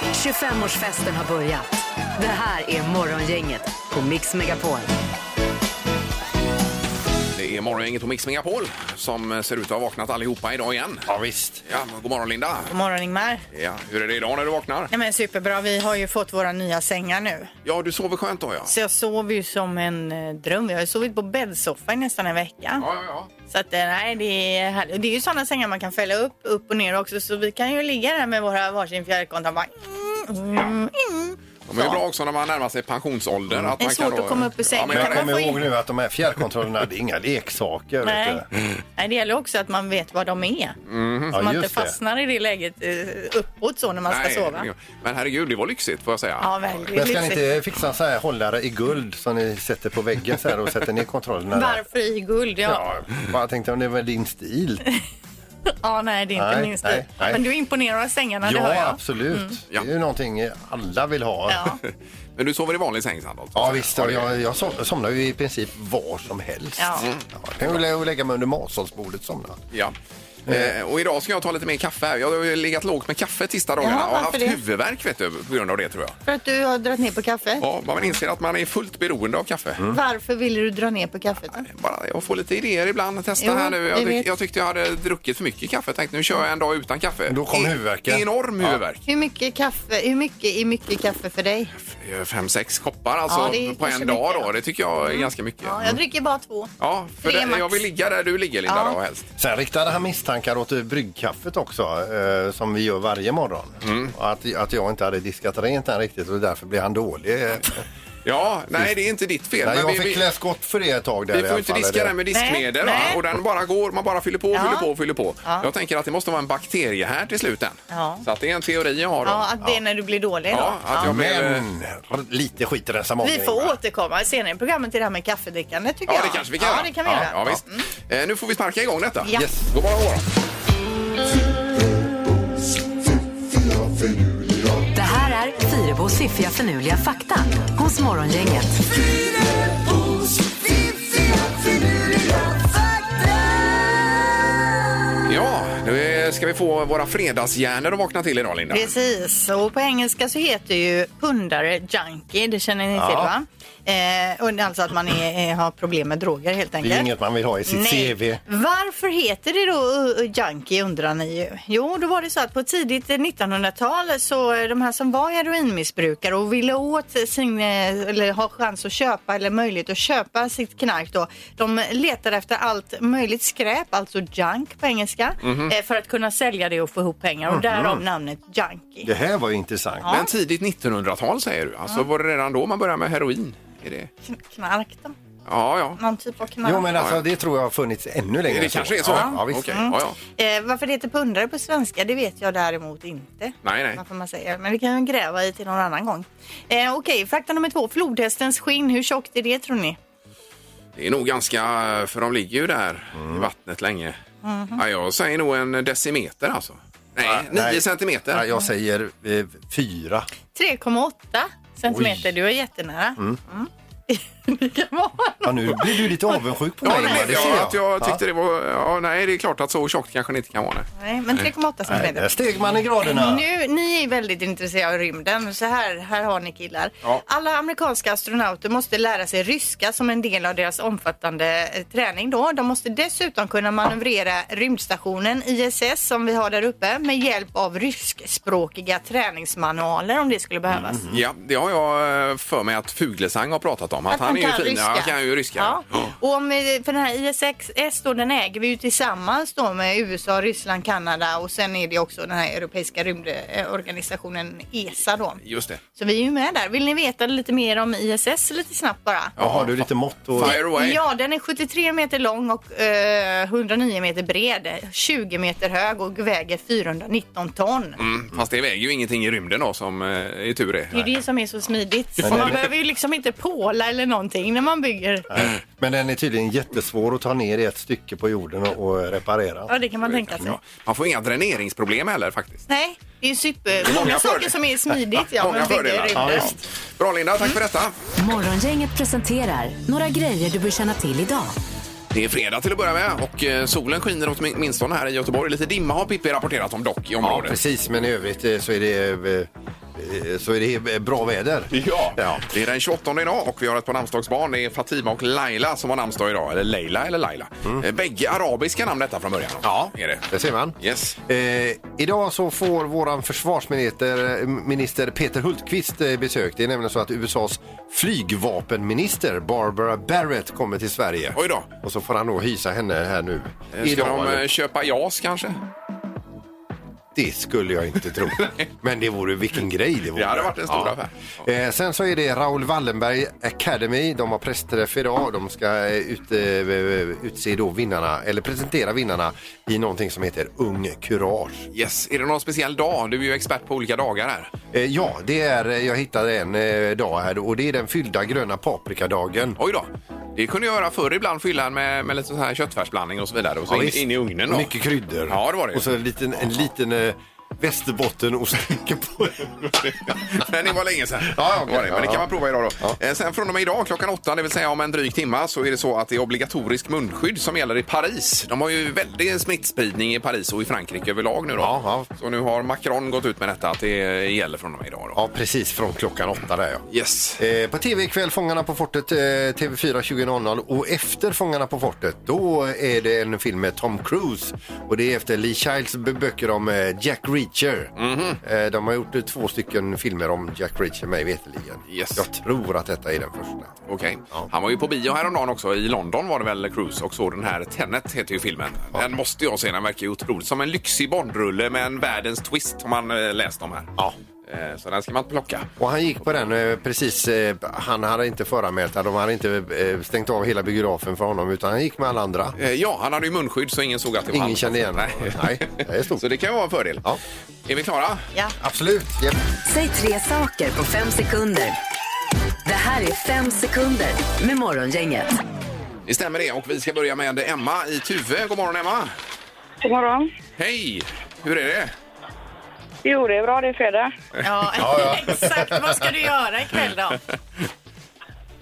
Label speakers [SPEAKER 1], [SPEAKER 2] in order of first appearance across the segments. [SPEAKER 1] 25-årsfesten har börjat. Det här är Morgongänget på Mix Megapol.
[SPEAKER 2] Det är morgongänget på Mix Megapol som eh, ser ut att ha vaknat allihopa idag igen.
[SPEAKER 3] Ja, visst.
[SPEAKER 2] Ja, god morgon Linda!
[SPEAKER 4] God morgon Ingmar.
[SPEAKER 2] Ja, hur är det idag när du vaknar?
[SPEAKER 4] Nej, men superbra, vi har ju fått våra nya sängar nu.
[SPEAKER 2] Ja, du sover skönt då ja.
[SPEAKER 4] Så jag sover ju som en eh, dröm. Jag har ju sovit på bäddsoffa i nästan en vecka.
[SPEAKER 2] Ja, ja, ja.
[SPEAKER 4] Så att, eh, nej, det, är härligt. Och det är ju sådana sängar man kan fälla upp, upp och ner också. Så vi kan ju ligga där med våra varsin fjärrkontroll. Bara... Mm, mm, mm.
[SPEAKER 2] De är ju bra också när man närmar sig pensionsåldern. Att
[SPEAKER 4] Det är
[SPEAKER 2] man kan
[SPEAKER 4] svårt
[SPEAKER 2] då-
[SPEAKER 4] att komma upp ur sängen.
[SPEAKER 2] men
[SPEAKER 4] Jag
[SPEAKER 3] Men kom
[SPEAKER 4] kan få in-
[SPEAKER 3] ihåg nu att de här fjärrkontrollerna, det är inga leksaker.
[SPEAKER 4] Nej.
[SPEAKER 3] Vet du.
[SPEAKER 4] nej, det gäller också att man vet vad de är. Så
[SPEAKER 3] Ja,
[SPEAKER 4] man inte
[SPEAKER 3] just det.
[SPEAKER 4] fastnar i det läget eh, uppåt så när man ska
[SPEAKER 2] Nej,
[SPEAKER 4] sova.
[SPEAKER 2] Men herregud, det var lyxigt får jag säga.
[SPEAKER 4] Ja, väldigt
[SPEAKER 3] Men ska ni
[SPEAKER 4] lyxigt.
[SPEAKER 3] inte fixa en så här hållare i guld som ni sätter på väggen så här och sätter ner kontrollerna? där?
[SPEAKER 4] Varför i guld? Ja.
[SPEAKER 3] Ja, bara tänkte om det var din stil.
[SPEAKER 4] Ja, nej, det är inte
[SPEAKER 3] Nej,
[SPEAKER 4] min stil.
[SPEAKER 3] nej, nej.
[SPEAKER 4] Men du imponerar av sängarna, det hör
[SPEAKER 3] Ja,
[SPEAKER 4] jag. Mm.
[SPEAKER 3] absolut.
[SPEAKER 2] Ja.
[SPEAKER 3] Det är ju någonting alla vill ha.
[SPEAKER 4] Ja.
[SPEAKER 2] Men du sover i vanlig säng Sandholt?
[SPEAKER 3] Ja visst, och
[SPEAKER 2] det-
[SPEAKER 3] jag, jag som- somnar ju i princip var som helst.
[SPEAKER 4] Ja.
[SPEAKER 3] jag kan ju lä- lägga mig under matsalsbordet och somna.
[SPEAKER 2] Ja. Eh, och idag ska jag ta lite mer kaffe. här. Jag har ju legat lågt med kaffet sista dagarna
[SPEAKER 4] Jaha,
[SPEAKER 2] och haft
[SPEAKER 4] varför det?
[SPEAKER 2] huvudvärk vet du, på grund av det tror jag.
[SPEAKER 4] För att du har dragit ner på kaffet?
[SPEAKER 2] Ja, man inser att man är fullt beroende av kaffe.
[SPEAKER 4] Varför ville du dra ner på kaffet? då?
[SPEAKER 2] Bara jag får lite idéer ibland. Testa
[SPEAKER 4] Jo,
[SPEAKER 2] här nu. Jag,
[SPEAKER 4] jag
[SPEAKER 2] tyck,
[SPEAKER 4] vet.
[SPEAKER 2] jag tyckte jag hade druckit för mycket kaffe. Jag tänkte nu kör jag en dag utan kaffe.
[SPEAKER 3] Då kom huvudvärken.
[SPEAKER 2] Enorm
[SPEAKER 3] Ja.
[SPEAKER 2] huvudvärk.
[SPEAKER 4] Hur mycket kaffe, hur mycket är mycket kaffe för dig?
[SPEAKER 2] Det är Fem, sex koppar alltså
[SPEAKER 4] Ja, det är
[SPEAKER 2] på en
[SPEAKER 4] kanske
[SPEAKER 2] dag
[SPEAKER 4] mycket,
[SPEAKER 2] då.
[SPEAKER 4] ja.
[SPEAKER 2] Det tycker jag är ganska mycket.
[SPEAKER 4] Ja, jag dricker bara två.
[SPEAKER 2] Ja, för
[SPEAKER 4] Tre
[SPEAKER 2] det,
[SPEAKER 4] max.
[SPEAKER 2] jag vill ligga där du ligger Linda
[SPEAKER 4] Ja.
[SPEAKER 2] då helst.
[SPEAKER 3] Sen riktade han misstankar åt eh, bryggkaffet också, eh, som vi gör varje morgon.
[SPEAKER 2] Mm.
[SPEAKER 3] Och Att, att jag inte hade diskat rent än riktigt och därför blev han dålig. Eh,
[SPEAKER 2] Ja, nej det är inte ditt fel.
[SPEAKER 3] Nej,
[SPEAKER 2] men
[SPEAKER 3] jag
[SPEAKER 2] vi,
[SPEAKER 3] fick
[SPEAKER 2] vi,
[SPEAKER 3] klä skott för det ett tag. Där i
[SPEAKER 2] vi
[SPEAKER 3] alla
[SPEAKER 2] får inte
[SPEAKER 3] fall,
[SPEAKER 2] diska
[SPEAKER 3] eller?
[SPEAKER 2] den med diskmedel va?
[SPEAKER 4] Nej, nej.
[SPEAKER 2] och den bara går, man bara fyller på,
[SPEAKER 4] Ja.
[SPEAKER 2] fyller på, fyller på.
[SPEAKER 4] Ja.
[SPEAKER 2] Jag tänker att det måste vara en bakterie här till slut än.
[SPEAKER 4] Ja.
[SPEAKER 2] Så att det är en teori jag har då.
[SPEAKER 4] Ja, att det är när du blir dålig
[SPEAKER 2] Ja,
[SPEAKER 4] då.
[SPEAKER 2] att jag blev... eh,
[SPEAKER 3] Men r- lite skit i den som
[SPEAKER 4] Vi får återkomma senare i programmet till det här med kaffedrickande tycker
[SPEAKER 2] Ja,
[SPEAKER 4] jag.
[SPEAKER 2] det kanske vi kan
[SPEAKER 4] Ja,
[SPEAKER 2] göra.
[SPEAKER 4] det kan vi
[SPEAKER 2] ja,
[SPEAKER 4] göra.
[SPEAKER 2] Ja, visst. Eh, nu får vi sparka igång detta.
[SPEAKER 4] Ja.
[SPEAKER 3] Yes.
[SPEAKER 2] God morgon, god morgon.
[SPEAKER 1] Det här är Fyrabos fiffiga förnuliga fakta hos Morgongänget.
[SPEAKER 2] Ja, nu är- ska vi få våra fredagshjärnor att vakna till idag, Linda.
[SPEAKER 4] Precis, och på engelska så heter ju pundare junkie, det känner ni till va? Eh, och alltså att man är, eh, har problem med droger helt
[SPEAKER 3] Det
[SPEAKER 4] enkelt.
[SPEAKER 3] är inget man vill ha i sitt
[SPEAKER 4] Nej.
[SPEAKER 3] CV.
[SPEAKER 4] Varför heter det då uh, uh, junkie undrar ni ju. Jo, då var det så att på tidigt eh, 1900-tal så eh, de här som var heroinmissbrukare och ville åt sin, eh, eller ha chans att köpa eller möjlighet att köpa sitt knark då. De letade efter allt möjligt skräp, alltså junk på engelska,
[SPEAKER 3] Mhm.
[SPEAKER 4] eh, för att kunna sälja det och få ihop pengar och därav namnet junkie.
[SPEAKER 3] Det här var ju intressant.
[SPEAKER 2] Men tidigt 1900-tal säger du. Alltså
[SPEAKER 4] Mm.
[SPEAKER 2] var det redan då man började med heroin? Är det...
[SPEAKER 4] Kn- Knark då?
[SPEAKER 2] Ja, ja.
[SPEAKER 4] Någon typ av knark?
[SPEAKER 3] Jo, men
[SPEAKER 2] Ja.
[SPEAKER 3] alltså, det tror jag har funnits ännu längre.
[SPEAKER 2] Det
[SPEAKER 3] än
[SPEAKER 2] kanske är så?
[SPEAKER 3] Ja, ja, visst.
[SPEAKER 2] Okej, ja, ja.
[SPEAKER 4] Eh, varför det heter pundare på svenska det vet jag däremot inte.
[SPEAKER 2] Nej, nej.
[SPEAKER 4] Varför man säger. Men det kan jag gräva i till någon annan gång. Eh, Okej, fakta nummer två. Flodhästens skinn, hur tjockt är det tror ni?
[SPEAKER 2] Det är nog ganska... För de ligger ju där
[SPEAKER 3] Mm.
[SPEAKER 2] i vattnet länge.
[SPEAKER 4] Mm-hmm.
[SPEAKER 2] Ja, jag säger nog en decimeter alltså. Nej,
[SPEAKER 3] Ja,
[SPEAKER 2] nio
[SPEAKER 3] nej.
[SPEAKER 2] centimeter.
[SPEAKER 3] Ja, jag säger eh, fyra.
[SPEAKER 4] 3,8 centimeter.
[SPEAKER 3] Oj.
[SPEAKER 4] Du är jättenära. Mm. det kan vara
[SPEAKER 3] Ja, nu blir du lite avundsjuk på
[SPEAKER 2] Ja,
[SPEAKER 3] mig.
[SPEAKER 2] nej,
[SPEAKER 3] Ingmar,
[SPEAKER 2] det
[SPEAKER 3] ser
[SPEAKER 2] jag, att jag tyckte det var... Ja, nej, det är klart att så tjockt kanske det inte kan vara. Nej.
[SPEAKER 4] Nej, men 3,8
[SPEAKER 3] Nej, där
[SPEAKER 4] centimeter.
[SPEAKER 3] steg man i graderna.
[SPEAKER 4] Eh, Nu, ni är väldigt intresserade av rymden, så här, här har ni killar.
[SPEAKER 2] Ja.
[SPEAKER 4] Alla amerikanska astronauter måste lära sig ryska som en del av deras omfattande eh, träning. Då. De måste dessutom kunna manövrera rymdstationen ISS som vi har där uppe med hjälp av ryskspråkiga träningsmanualer om det skulle behövas.
[SPEAKER 2] Ja, det har jag eh, för mig att Fuglesang har pratat om. Att, han, är ju fin. Ja, Han kan ju ryska.
[SPEAKER 4] Ja. Och om, eh, för den här ISXS då, den äger vi ju tillsammans då med USA, Ryssland, Kanada och sen är det också den här europeiska rymdorganisationen ESA då.
[SPEAKER 2] Just det.
[SPEAKER 4] Så vi är ju med där. Vill ni veta lite mer om ISS lite snabbt bara?
[SPEAKER 3] Ja, har du lite mått och...
[SPEAKER 2] Fire away.
[SPEAKER 4] Ja, den är 73 meter lång och eh, 109 meter bred, 20 meter hög och väger 419 ton.
[SPEAKER 2] Mm, fast det väger ju ingenting i rymden då som eh, är tur det.
[SPEAKER 4] Det är ju det som är så smidigt. Och man behöver ju liksom inte påla eller någonting när man bygger.
[SPEAKER 3] Nej. Men den är tydligen jättesvår att ta ner i ett stycke på jorden och, och
[SPEAKER 4] Ja,
[SPEAKER 3] reparera.
[SPEAKER 4] det kan man tänka sig.
[SPEAKER 2] Ja. Man får inga dräneringsproblem heller faktiskt.
[SPEAKER 4] Nej, det är ju super...
[SPEAKER 2] Många fördelar.
[SPEAKER 4] Många saker som är smidigt. Ja,
[SPEAKER 2] Många
[SPEAKER 4] men bygger
[SPEAKER 2] fördelar.
[SPEAKER 4] rymden.
[SPEAKER 3] Ja, visst.
[SPEAKER 2] Bra Linda, tack för detta.
[SPEAKER 1] Morgongänget presenterar några grejer du bör känna till idag.
[SPEAKER 2] Det är fredag till att börja med och eh, solen skiner åtminstone här i Göteborg. Lite dimma har Pippi rapporterat om dock i
[SPEAKER 3] Ja,
[SPEAKER 2] området.
[SPEAKER 3] precis. Men i övrigt eh, så är det eh, eh, så är det bra väder.
[SPEAKER 2] Ja.
[SPEAKER 3] Ja.
[SPEAKER 2] det är den 28 idag och vi har ett par namnsdagsbarn. Det är Fatima och Laila som har namnsdag idag. Eller Leila eller Laila. Mm. Bägge arabiska namn detta från början.
[SPEAKER 3] Ja.
[SPEAKER 2] Är det.
[SPEAKER 3] Det ser man.
[SPEAKER 2] Yes.
[SPEAKER 3] Eh, idag så får våran försvarsminister eh, minister Peter Hultqvist eh, besök. Det är nämligen så att USAs flygvapenminister Barbara Barrett kommer till Sverige.
[SPEAKER 2] Oj då.
[SPEAKER 3] Och så får han då hysa henne här nu.
[SPEAKER 2] Ska de eh, köpa JAS kanske?
[SPEAKER 3] Det skulle jag inte tro. Men det vore vilken grej det vore.
[SPEAKER 2] Det hade varit en stor affär.
[SPEAKER 3] Eh, sen så är det Raoul Wallenberg Academy. De har pressträff idag. De ska eh, ut, eh, utse då vinnarna, eller presentera vinnarna i någonting som heter Ung Courage.
[SPEAKER 2] Yes. Är det någon speciell dag? Du är ju expert på olika dagar här.
[SPEAKER 3] Eh, ja, det är, eh, jag hittade en eh, dag här och det är den fyllda gröna paprikadagen.
[SPEAKER 2] Oj då. Det kunde jag göra förr ibland, fylla den med, med lite så här köttfärsblandning och så vidare. Och så in,
[SPEAKER 3] visst.
[SPEAKER 2] in i ugnen då.
[SPEAKER 3] Mycket kryddor.
[SPEAKER 2] Ja, det var det.
[SPEAKER 3] Och så en liten, en liten eh, västerbottenost på.
[SPEAKER 2] Men det var länge sedan.
[SPEAKER 3] Ja, okej.
[SPEAKER 2] Det var det. Men det kan
[SPEAKER 3] Ja.
[SPEAKER 2] man prova idag då.
[SPEAKER 3] Ja.
[SPEAKER 2] Eh, Sen från och med idag klockan åtta, det vill säga om en dryg timma, så är det så att det är obligatorisk munskydd som gäller i Paris. De har ju väldig smittspridning i Paris och i Frankrike överlag nu då.
[SPEAKER 3] Ja, ja.
[SPEAKER 2] Så nu har Macron gått ut med detta att det gäller från och med idag då.
[SPEAKER 3] Ja, precis från klockan åtta där ja.
[SPEAKER 2] Yes.
[SPEAKER 3] Eh, på tv ikväll, Fångarna på fortet, eh, TV4 20.00 och efter Fångarna på fortet då är det en film med Tom Cruise och det är efter Lee Childs b- böcker om eh, Jack Reacher.
[SPEAKER 2] Mhm.
[SPEAKER 3] eh, de har gjort eh, två stycken filmer om Jack Reacher mig veterligen.
[SPEAKER 2] Yes.
[SPEAKER 3] Jag tror att detta är den första.
[SPEAKER 2] Okej.
[SPEAKER 3] Ja.
[SPEAKER 2] Han var ju på bio häromdagen också. I London var det väl Cruise och såg den här Tenet heter ju filmen. Den måste jag se. Den verkar ju otroligt som en lyxig Bondrulle med en världens twist har man eh, läst om här.
[SPEAKER 3] Ja.
[SPEAKER 2] Eh, Så den ska man inte plocka.
[SPEAKER 3] Och han gick på den eh, precis, eh, han hade inte föranmält, de hade inte eh, stängt av hela biografen för honom utan han gick med alla andra.
[SPEAKER 2] Eh, Ja, han hade ju munskydd så ingen såg att det var
[SPEAKER 3] Ingen
[SPEAKER 2] han.
[SPEAKER 3] kände igen honom.
[SPEAKER 2] Nej.
[SPEAKER 3] Nej, det är stort.
[SPEAKER 2] Så det kan ju vara en fördel.
[SPEAKER 3] Ja.
[SPEAKER 2] Är vi klara?
[SPEAKER 4] Ja.
[SPEAKER 3] Absolut. Japp.
[SPEAKER 1] Säg tre saker på fem sekunder. Det här är fem sekunder med Morgongänget.
[SPEAKER 2] Det stämmer det. Och vi ska börja med Emma i Tuve. God morgon Emma!
[SPEAKER 5] God morgon.
[SPEAKER 2] Hej! Hur är det?
[SPEAKER 5] Jo, det är bra. Det är fredag.
[SPEAKER 4] Ja, exakt. Vad ska du göra ikväll då?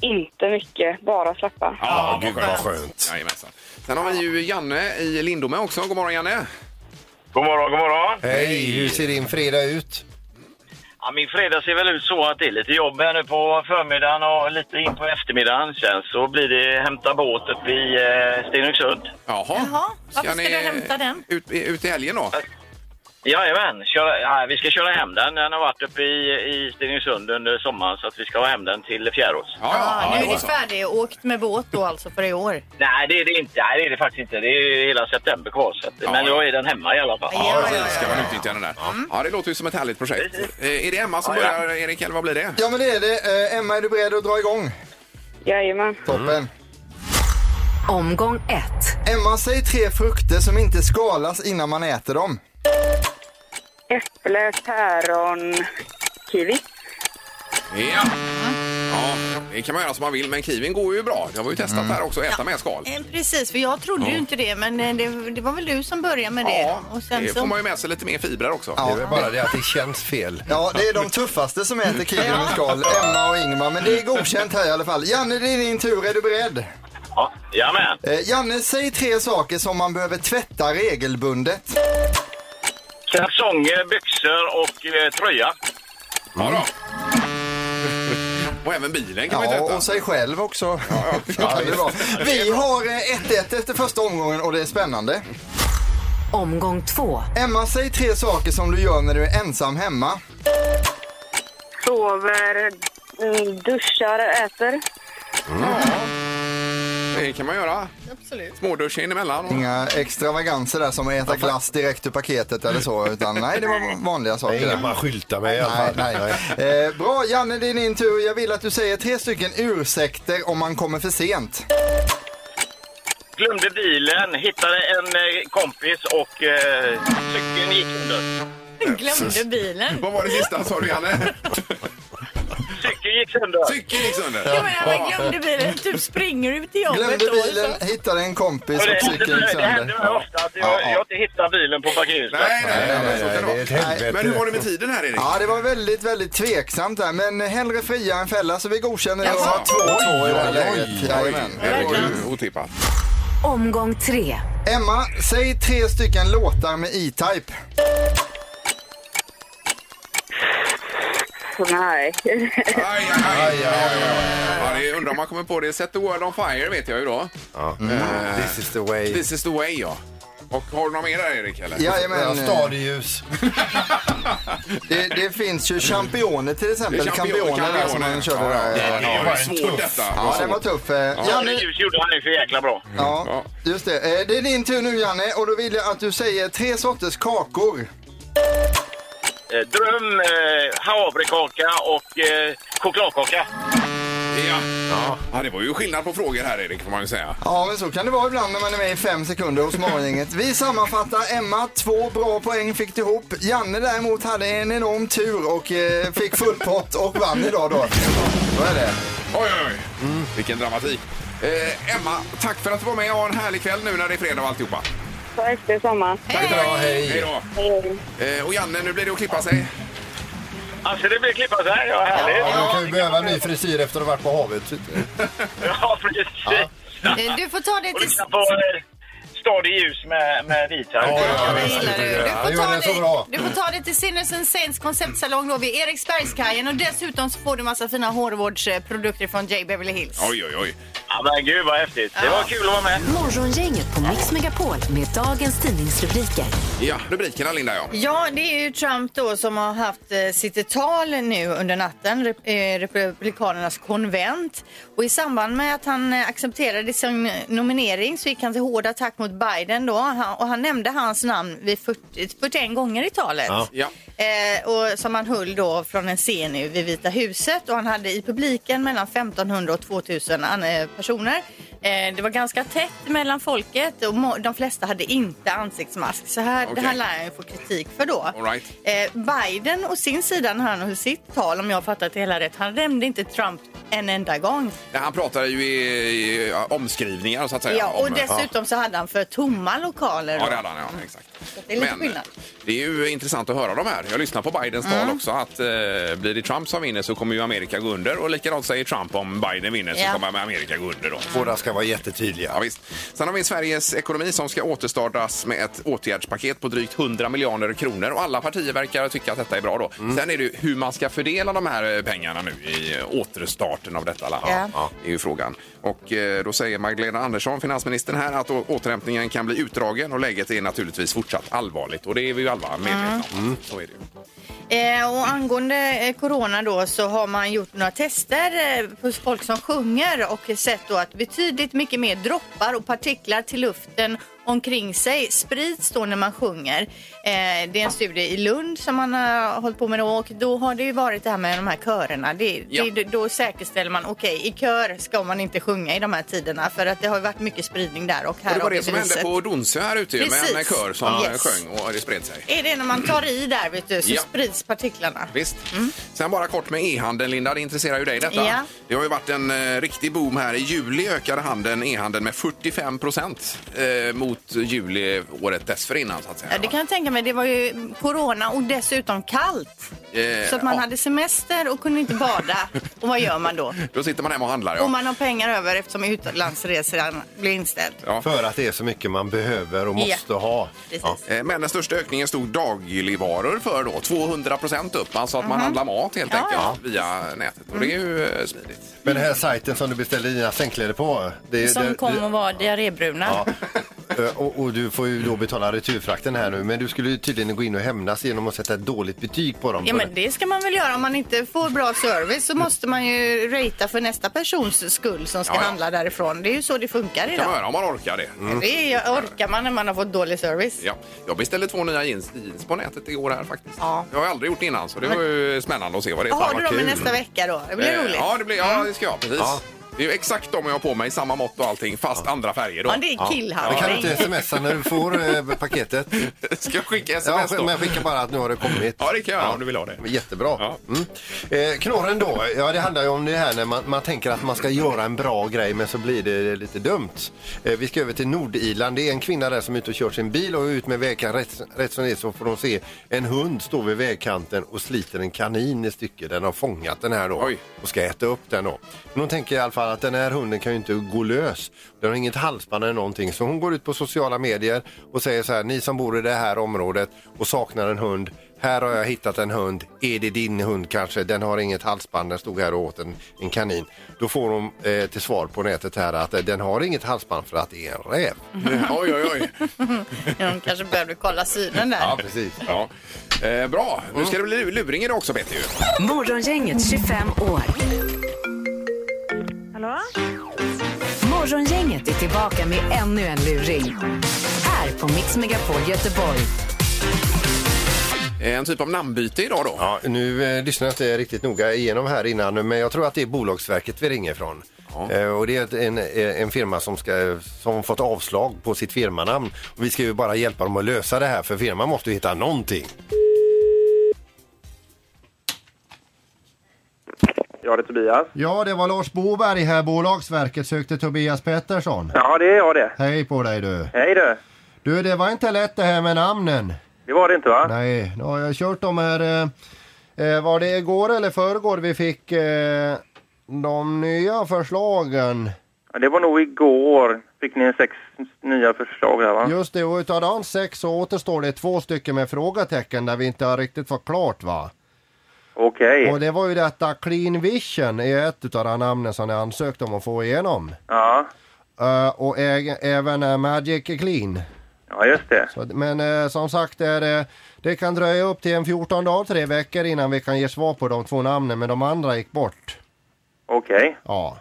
[SPEAKER 5] Inte mycket, bara släppa.
[SPEAKER 2] Ja,
[SPEAKER 3] gud, vad skönt.
[SPEAKER 2] Jajamensan. Sen har vi ju Janne i Lindome också. God morgon Janne!
[SPEAKER 6] God morgon, god morgon.
[SPEAKER 3] Hej, hur ser din fredag ut?
[SPEAKER 6] Ja, min fredag ser väl ut så att det är lite jobb här nu på förmiddagen och lite in på eftermiddagen. Sen så blir det hämta båt uppe i eh, Stenungsund.
[SPEAKER 2] Jaha,
[SPEAKER 4] Jaha, varför ska du hämta den?
[SPEAKER 2] Ut, ut i helgen då?
[SPEAKER 6] Jajamän, köra, ja, vi ska köra hem den. Den har varit uppe i, i Stenungsund under sommaren så att vi ska ha hem den till Fjärås.
[SPEAKER 4] Ja, nu
[SPEAKER 2] det
[SPEAKER 4] är
[SPEAKER 2] var
[SPEAKER 4] ni
[SPEAKER 2] så.
[SPEAKER 4] färdigåkt med båt då alltså för i år.
[SPEAKER 6] Nej, det är det inte. Nej, det är det faktiskt inte. Det är ju hela september kvar. Så att,
[SPEAKER 2] Ja.
[SPEAKER 6] Men då är den hemma i alla fall.
[SPEAKER 4] Ja,
[SPEAKER 2] Ja,
[SPEAKER 4] ja,
[SPEAKER 2] precis. Ska man utnyttja den där.
[SPEAKER 4] Mm.
[SPEAKER 2] Ja, det låter ju som ett härligt projekt.
[SPEAKER 6] Precis.
[SPEAKER 2] Eh, Är det Emma som
[SPEAKER 6] Ja, ja.
[SPEAKER 2] börjar, Erik, eller vad blir det?
[SPEAKER 7] Ja men det är det. Eh, Emma, är du beredd att dra igång?
[SPEAKER 5] Jajamän.
[SPEAKER 7] Toppen.
[SPEAKER 1] Omgång ett.
[SPEAKER 7] Emma, säg tre frukter som inte skalas innan man äter dem.
[SPEAKER 5] Äpple, päron, kiwi.
[SPEAKER 2] Ja. ja, det kan man göra som man vill, men kiwin går ju bra. Det har vi ju testat här också, äta med skal.
[SPEAKER 4] Eh, Precis, för jag trodde ju inte det, men eh, det, det var väl du som började med det.
[SPEAKER 2] Ja,
[SPEAKER 4] och sen
[SPEAKER 2] det
[SPEAKER 4] så...
[SPEAKER 2] får man ju med sig lite mer fibrer också.
[SPEAKER 7] Ja.
[SPEAKER 3] Det är väl bara det att det känns fel.
[SPEAKER 7] Ja, det är de tuffaste som äter kiwi med skal, Emma och Ingmar, men det är godkänt här i alla fall. Janne, det är din tur. Är du beredd?
[SPEAKER 6] Ja, jajamän.
[SPEAKER 7] Eh, Janne, säg tre saker som man behöver tvätta regelbundet.
[SPEAKER 6] Kalsonger, byxor och eh, tröja.
[SPEAKER 2] Ja då. Och även bilen kan man ju
[SPEAKER 7] Ja,
[SPEAKER 2] tvätta.
[SPEAKER 7] och sig själv också.
[SPEAKER 2] ja.
[SPEAKER 7] Ja, det är bra. Vi har eh, 1-1 efter första omgången och det är spännande.
[SPEAKER 1] Omgång två.
[SPEAKER 7] Emma, säg tre saker som du gör när du är ensam hemma.
[SPEAKER 5] Sover, mm, duschar, äter.
[SPEAKER 2] Det kan man göra. Absolut. Smådusch in emellan. Och...
[SPEAKER 7] Inga extravaganser där som att äta glass direkt ur paketet eller så, utan nej, det var vanliga
[SPEAKER 3] Det
[SPEAKER 7] saker.
[SPEAKER 3] är inget
[SPEAKER 7] där.
[SPEAKER 3] man skyltar med i alla
[SPEAKER 7] Nej,
[SPEAKER 3] fall.
[SPEAKER 7] nej. Eh, bra, Janne, det är din tur. Jag vill att du säger tre stycken ursäkter om man kommer för sent.
[SPEAKER 6] Glömde bilen, hittade en eh, kompis och eh, cykeln gick under.
[SPEAKER 4] Glömde bilen.
[SPEAKER 2] Vad var det sista sa du, Janne?
[SPEAKER 6] Cykeln gick sönder.
[SPEAKER 2] Cykeln gick sönder.
[SPEAKER 4] Ja, men jag bara glömde bilen. Typ springer ut till jobbet
[SPEAKER 7] Glömde
[SPEAKER 4] då, och så-
[SPEAKER 7] bilen, hittade en kompis
[SPEAKER 6] Och det,
[SPEAKER 7] och cykeln gick
[SPEAKER 6] det, det händer
[SPEAKER 7] sönder.
[SPEAKER 6] mig ofta att jag,
[SPEAKER 7] Ja, ja.
[SPEAKER 6] jag inte hittar bilen på parkeringsplatsen.
[SPEAKER 2] Nej, nej, nej, men så kan det
[SPEAKER 3] Det är ett
[SPEAKER 2] vara.
[SPEAKER 3] helvete.
[SPEAKER 2] Men hur var det med tiden här, Erik?
[SPEAKER 7] Ja, det var väldigt, väldigt tveksamt där, men hellre fria än fälla så vi godkänner det och
[SPEAKER 4] Jaså?
[SPEAKER 7] har 2-2 i det här
[SPEAKER 3] oj,
[SPEAKER 7] läget. Jajamän.
[SPEAKER 2] Det var ju otippat.
[SPEAKER 1] Omgång tre.
[SPEAKER 7] Emma, säg tre stycken låtar med E-Type.
[SPEAKER 5] Nej.
[SPEAKER 2] Aj, aj, aj, Ja, det är, undrar om man kommer på det. Set the world on fire vet jag ju då.
[SPEAKER 3] Ja. This is the way.
[SPEAKER 2] This is the way, ja. Och har du någon mer där, Erik? Eller?
[SPEAKER 3] Ja,
[SPEAKER 7] Jajamän.
[SPEAKER 3] Stadieljus.
[SPEAKER 7] Det, det finns
[SPEAKER 3] Mm.
[SPEAKER 7] ju championer till exempel. Campioner där som man körde där.
[SPEAKER 2] Ja, det var svårt detta.
[SPEAKER 7] Ja, den var tuff. Eh,
[SPEAKER 6] Ja,
[SPEAKER 7] Janne,
[SPEAKER 6] det ljus gjorde han ju för jäkla bra.
[SPEAKER 7] ja, just det. Eh, Det är din tur nu Janne och då vill jag att du säger tre sorters kakor.
[SPEAKER 6] Eh, Dröm, eh, havrekaka och eh, chokladkaka.
[SPEAKER 2] Ja. Ja. det var ju skillnad på frågor här, Erik, får man ju säga.
[SPEAKER 7] Ja, men så kan det vara ibland när man är med i fem sekunder hos Morgongänget. Vi sammanfattar. Emma, två bra poäng fick du ihop. Janne däremot hade en enorm tur och eh, fick full pott och vann idag då. Så är det.
[SPEAKER 2] Oj, oj, oj.
[SPEAKER 7] Mm.
[SPEAKER 2] Vilken dramatik. Eh, Emma, tack för att du var med och ha en härlig kväll nu när det är fredag och alltihopa.
[SPEAKER 5] Så efter sommar.
[SPEAKER 2] Tack, tack. Hej. då.
[SPEAKER 5] Hej.
[SPEAKER 2] Eh, och Janne, nu blir det att klippa sig.
[SPEAKER 6] Alltså det blir klippa så här, ja härligt.
[SPEAKER 3] Ja, du kan ju behöva en ny frisyr efter att ha varit på havet.
[SPEAKER 6] Ja, precis.
[SPEAKER 4] Eh, Du får ta det
[SPEAKER 6] Och
[SPEAKER 4] till...
[SPEAKER 6] lyssna på eh, Stadig ljus med, med vithaj.
[SPEAKER 4] Ja, det gillar du. Du
[SPEAKER 3] Han
[SPEAKER 4] får,
[SPEAKER 3] gör
[SPEAKER 4] ta
[SPEAKER 3] den så
[SPEAKER 4] dig,
[SPEAKER 3] bra.
[SPEAKER 4] du får ta dig till Sinners and Saints konceptsalong då vid Eriksbergskajen och dessutom så får du massa fina hårvårdsprodukter från J. Beverly Hills.
[SPEAKER 2] Oj, oj, oj.
[SPEAKER 6] Ja, men gud vad häftigt. Det var kul att vara med.
[SPEAKER 1] Morgongänget på Mix Megapol med dagens tidningsrubriker.
[SPEAKER 2] Ja, rubrikerna, Linda, ja.
[SPEAKER 4] Ja, det är ju Trump då som har haft eh, sitt tal nu under natten, rep eh, Republikanernas konvent. Och i samband med att han eh, accepterade sin nominering så gick han till hård attack mot Biden då han, och han nämnde hans namn vid 40, 41 gånger i talet.
[SPEAKER 2] Ja.
[SPEAKER 4] Eh, och som han höll då från en scen nu vid Vita huset och han hade i publiken mellan 1500 och 2000 an- eh, personer. Eh, det var ganska tätt mellan folket och må- de flesta hade inte ansiktsmask. Så här,
[SPEAKER 2] Okej.
[SPEAKER 4] det här lär han ju få kritik för då.
[SPEAKER 2] All right.
[SPEAKER 4] eh, Biden å sin sida när han höll sitt tal, om jag har fattat det hela rätt, han nämnde inte Trump en enda gång.
[SPEAKER 2] Ja, Han pratade ju i, i ja, omskrivningar, så att säga.
[SPEAKER 4] Ja, och
[SPEAKER 2] om-
[SPEAKER 4] dessutom så hade han för tomma lokaler.
[SPEAKER 2] Ja,
[SPEAKER 4] då.
[SPEAKER 2] det hade han. Ja, exakt.
[SPEAKER 4] det är lite
[SPEAKER 2] Men
[SPEAKER 4] skillnad. Mm.
[SPEAKER 2] det är ju intressant att höra de här. Jag lyssnar på Bidens tal också. Att eh, blir det Trump som vinner så kommer ju Amerika gå under. Och likadant säger Trump om Biden vinner så
[SPEAKER 4] Ja.
[SPEAKER 2] kommer Amerika gå under. Då.
[SPEAKER 3] Båda ska vara
[SPEAKER 2] Ja,
[SPEAKER 3] jättetydliga.
[SPEAKER 2] visst. Sen har vi Sveriges ekonomi som ska återstartas med ett åtgärdspaket på drygt 100 miljarder kronor. Och alla partier verkar tycka att detta är bra. Då.
[SPEAKER 4] Mm.
[SPEAKER 2] Sen är det ju hur man ska fördela de här eh, pengarna nu i eh, återstarten av detta land.
[SPEAKER 4] Ja.
[SPEAKER 2] Det är ju frågan. Och eh, då säger Magdalena Andersson, finansministern här, att å- återhämtningen kan bli utdragen och läget är naturligtvis fortsatt allvarligt. Och det är vi ju alla medvetna om.
[SPEAKER 4] Mm.
[SPEAKER 2] Så är det ju.
[SPEAKER 4] Eh, och angående eh, corona då så har man gjort några tester eh, på folk som sjunger och sett då att betydligt mycket mer droppar och partiklar till luften omkring sig sprids då när man sjunger. Eh, det är en studie i Lund som man har hållit på med då och då har det ju varit det här med de här körerna. Det,
[SPEAKER 2] Ja.
[SPEAKER 4] det, då säkerställer man, okej i kör ska man inte sjunga i de här tiderna för att det har ju varit mycket spridning där och här
[SPEAKER 2] Och det var
[SPEAKER 4] har vi
[SPEAKER 2] det som hände
[SPEAKER 4] beviset.
[SPEAKER 2] på Donsö här ute ju, med en
[SPEAKER 4] Precis.
[SPEAKER 2] kör som
[SPEAKER 4] Ja.
[SPEAKER 2] eh, sjöng och det spred sig.
[SPEAKER 4] Är det när man tar i där vet du så
[SPEAKER 2] Ja.
[SPEAKER 4] sprids partiklarna.
[SPEAKER 2] Visst. Sen bara kort med e-handeln, Linda. Det intresserar ju dig detta.
[SPEAKER 4] Mm. Ja.
[SPEAKER 2] Det har ju varit en eh, riktig boom här. I juli ökade handeln, e-handeln med 45 procent eh, mot juli året dessförinnan. Så att säga.
[SPEAKER 4] Ja, det kan jag tänka mig. Det var ju corona och dessutom kallt.
[SPEAKER 2] Eh,
[SPEAKER 4] Så att man
[SPEAKER 2] ja.
[SPEAKER 4] hade semester och kunde inte bada. Och vad gör man då?
[SPEAKER 2] Då sitter man hemma och handlar. Ja.
[SPEAKER 4] Och man har pengar över eftersom utlandsresan blir inställd.
[SPEAKER 3] För att det är så mycket man behöver och måste
[SPEAKER 4] Ja.
[SPEAKER 3] ha.
[SPEAKER 4] Precis.
[SPEAKER 2] Eh, Men den största ökningen stod dagligvaror för då, 200 procent upp. Alltså att man handlar mat helt
[SPEAKER 4] Mhm. Ja,
[SPEAKER 2] enkelt
[SPEAKER 4] ja. Mm.
[SPEAKER 2] via nätet. Och det är ju eh, smidigt.
[SPEAKER 3] Men den här sajten som du beställde dina sängkläder på.
[SPEAKER 2] eh,
[SPEAKER 3] Det, det-
[SPEAKER 4] Som kom och var diarrébruna.
[SPEAKER 3] Ja. Eh, Och, och du får ju då betala returfrakten här nu. Men du skulle ju tydligen gå in och hämnas genom att sätta ett dåligt betyg på dem.
[SPEAKER 4] Ja men det ska man väl göra. Om man inte får bra service så måste man ju ratea för nästa persons skull som ska
[SPEAKER 2] Ja, ja.
[SPEAKER 4] handla därifrån. Det är ju så det funkar
[SPEAKER 2] kan man
[SPEAKER 4] idag.
[SPEAKER 2] göra om man orkar det.
[SPEAKER 4] Det är, orkar man när man har fått dålig service.
[SPEAKER 2] Ja, jag beställde två nya jeans, jeans på nätet igår här faktiskt.
[SPEAKER 4] Ja.
[SPEAKER 2] Jag har ju aldrig gjort det innan så det var ju spännande att se vad det är.
[SPEAKER 4] Ja. Har
[SPEAKER 2] Fan,
[SPEAKER 4] du
[SPEAKER 2] vad
[SPEAKER 4] dem i
[SPEAKER 2] kul.
[SPEAKER 4] nästa vecka då? Det blir
[SPEAKER 2] Eh,
[SPEAKER 4] roligt. Mm.
[SPEAKER 2] Ja, det blir, ja, det ska jag. Precis.
[SPEAKER 3] Ja.
[SPEAKER 2] Det är ju exakt de jag har på mig, samma mått och allting, fast andra färger då.
[SPEAKER 4] Ja, det är
[SPEAKER 3] Men kan du
[SPEAKER 4] killhandling.
[SPEAKER 3] inte smsa när du får eh, paketet?
[SPEAKER 2] Ska jag skicka
[SPEAKER 3] Ja,
[SPEAKER 2] sms då?
[SPEAKER 3] men skicka bara att nu har det kommit.
[SPEAKER 2] Ja, det kan jag göra om du vill ha det.
[SPEAKER 3] Men Jättebra.
[SPEAKER 2] Ja.
[SPEAKER 3] Mm. Eh, knorren då, ja det handlar ju om det här när man, man tänker att man ska göra en bra grej men så blir det lite dumt. Eh, vi ska över till Nordirland. Det är en kvinna där som är ute och kör sin bil och är ut med vägkanten. Rätt, rätt som det är så får de se en hund stå vid vägkanten och sliter en kanin i stycken. Den har fångat den här då
[SPEAKER 2] Oj.
[SPEAKER 3] och ska äta upp den då. Men hon tänker i alla fall att den här hunden kan ju inte gå lös. Den har inget halsband eller någonting. Så hon går ut på sociala medier och säger så här, ni som bor i det här området och saknar en hund,
[SPEAKER 8] Här har jag hittat en hund. Är det din hund kanske? Den har inget halsband. Den stod här och åt en, en kanin. Då får de eh, till svar på nätet här att eh, den har inget halsband för att det är en räv.
[SPEAKER 2] Oj, oj, oj.
[SPEAKER 4] De kanske behövde kolla synen där.
[SPEAKER 2] Ja, precis. Ja. Eh, bra, nu ska det bli lu- luring idag också Peter. ju.
[SPEAKER 1] Morgongänget 25 år.
[SPEAKER 9] Hallå?
[SPEAKER 1] Morgongänget är tillbaka med ännu en luring. Här på Mix Megapol Göteborg.
[SPEAKER 2] Eh, En typ av namnbyte idag då.
[SPEAKER 8] Ja, nu eh, lyssnar jag inte riktigt noga igenom här innan men jag tror att det är Bolagsverket vi ringer ifrån. Eh, och det är ett- en, eh, en firma som, ska, som fått avslag på sitt firmanamn. Och vi ska ju bara hjälpa dem att lösa det här för firman måste ju hitta någonting.
[SPEAKER 10] Ja, det är Tobias.
[SPEAKER 3] Ja, det var Lars Boberg här, Bolagsverket sökte Tobias Pettersson.
[SPEAKER 10] Ja, det är jag det.
[SPEAKER 3] Hej på dig du.
[SPEAKER 10] Hej du.
[SPEAKER 3] Du, det var inte lätt det här med namnen.
[SPEAKER 10] Det var det inte va?
[SPEAKER 3] Nej, nu har jag kört de här, eh, eh, var det igår eller förrgår vi fick eh, de nya förslagen?
[SPEAKER 10] Ja, Det var nog igår. Fick ni sex nya förslag där va?
[SPEAKER 3] Just det, och utav de sex så återstår det två stycken med frågetecken där vi inte har riktigt fått klart va?
[SPEAKER 10] Okej.
[SPEAKER 3] Och det var ju detta Clean Vision är ett utav de namnen som ni ansökte om att få igenom.
[SPEAKER 10] Ja.
[SPEAKER 3] Eh, och äg- även eh, Magic Clean.
[SPEAKER 10] ja, just det.
[SPEAKER 3] Så, att- men eh, som sagt, det, är, eh, det kan dröja upp till en 14 dagar, tre veckor innan vi kan ge svar på de två namnen, men de andra gick bort.
[SPEAKER 10] Okej.
[SPEAKER 3] Ja.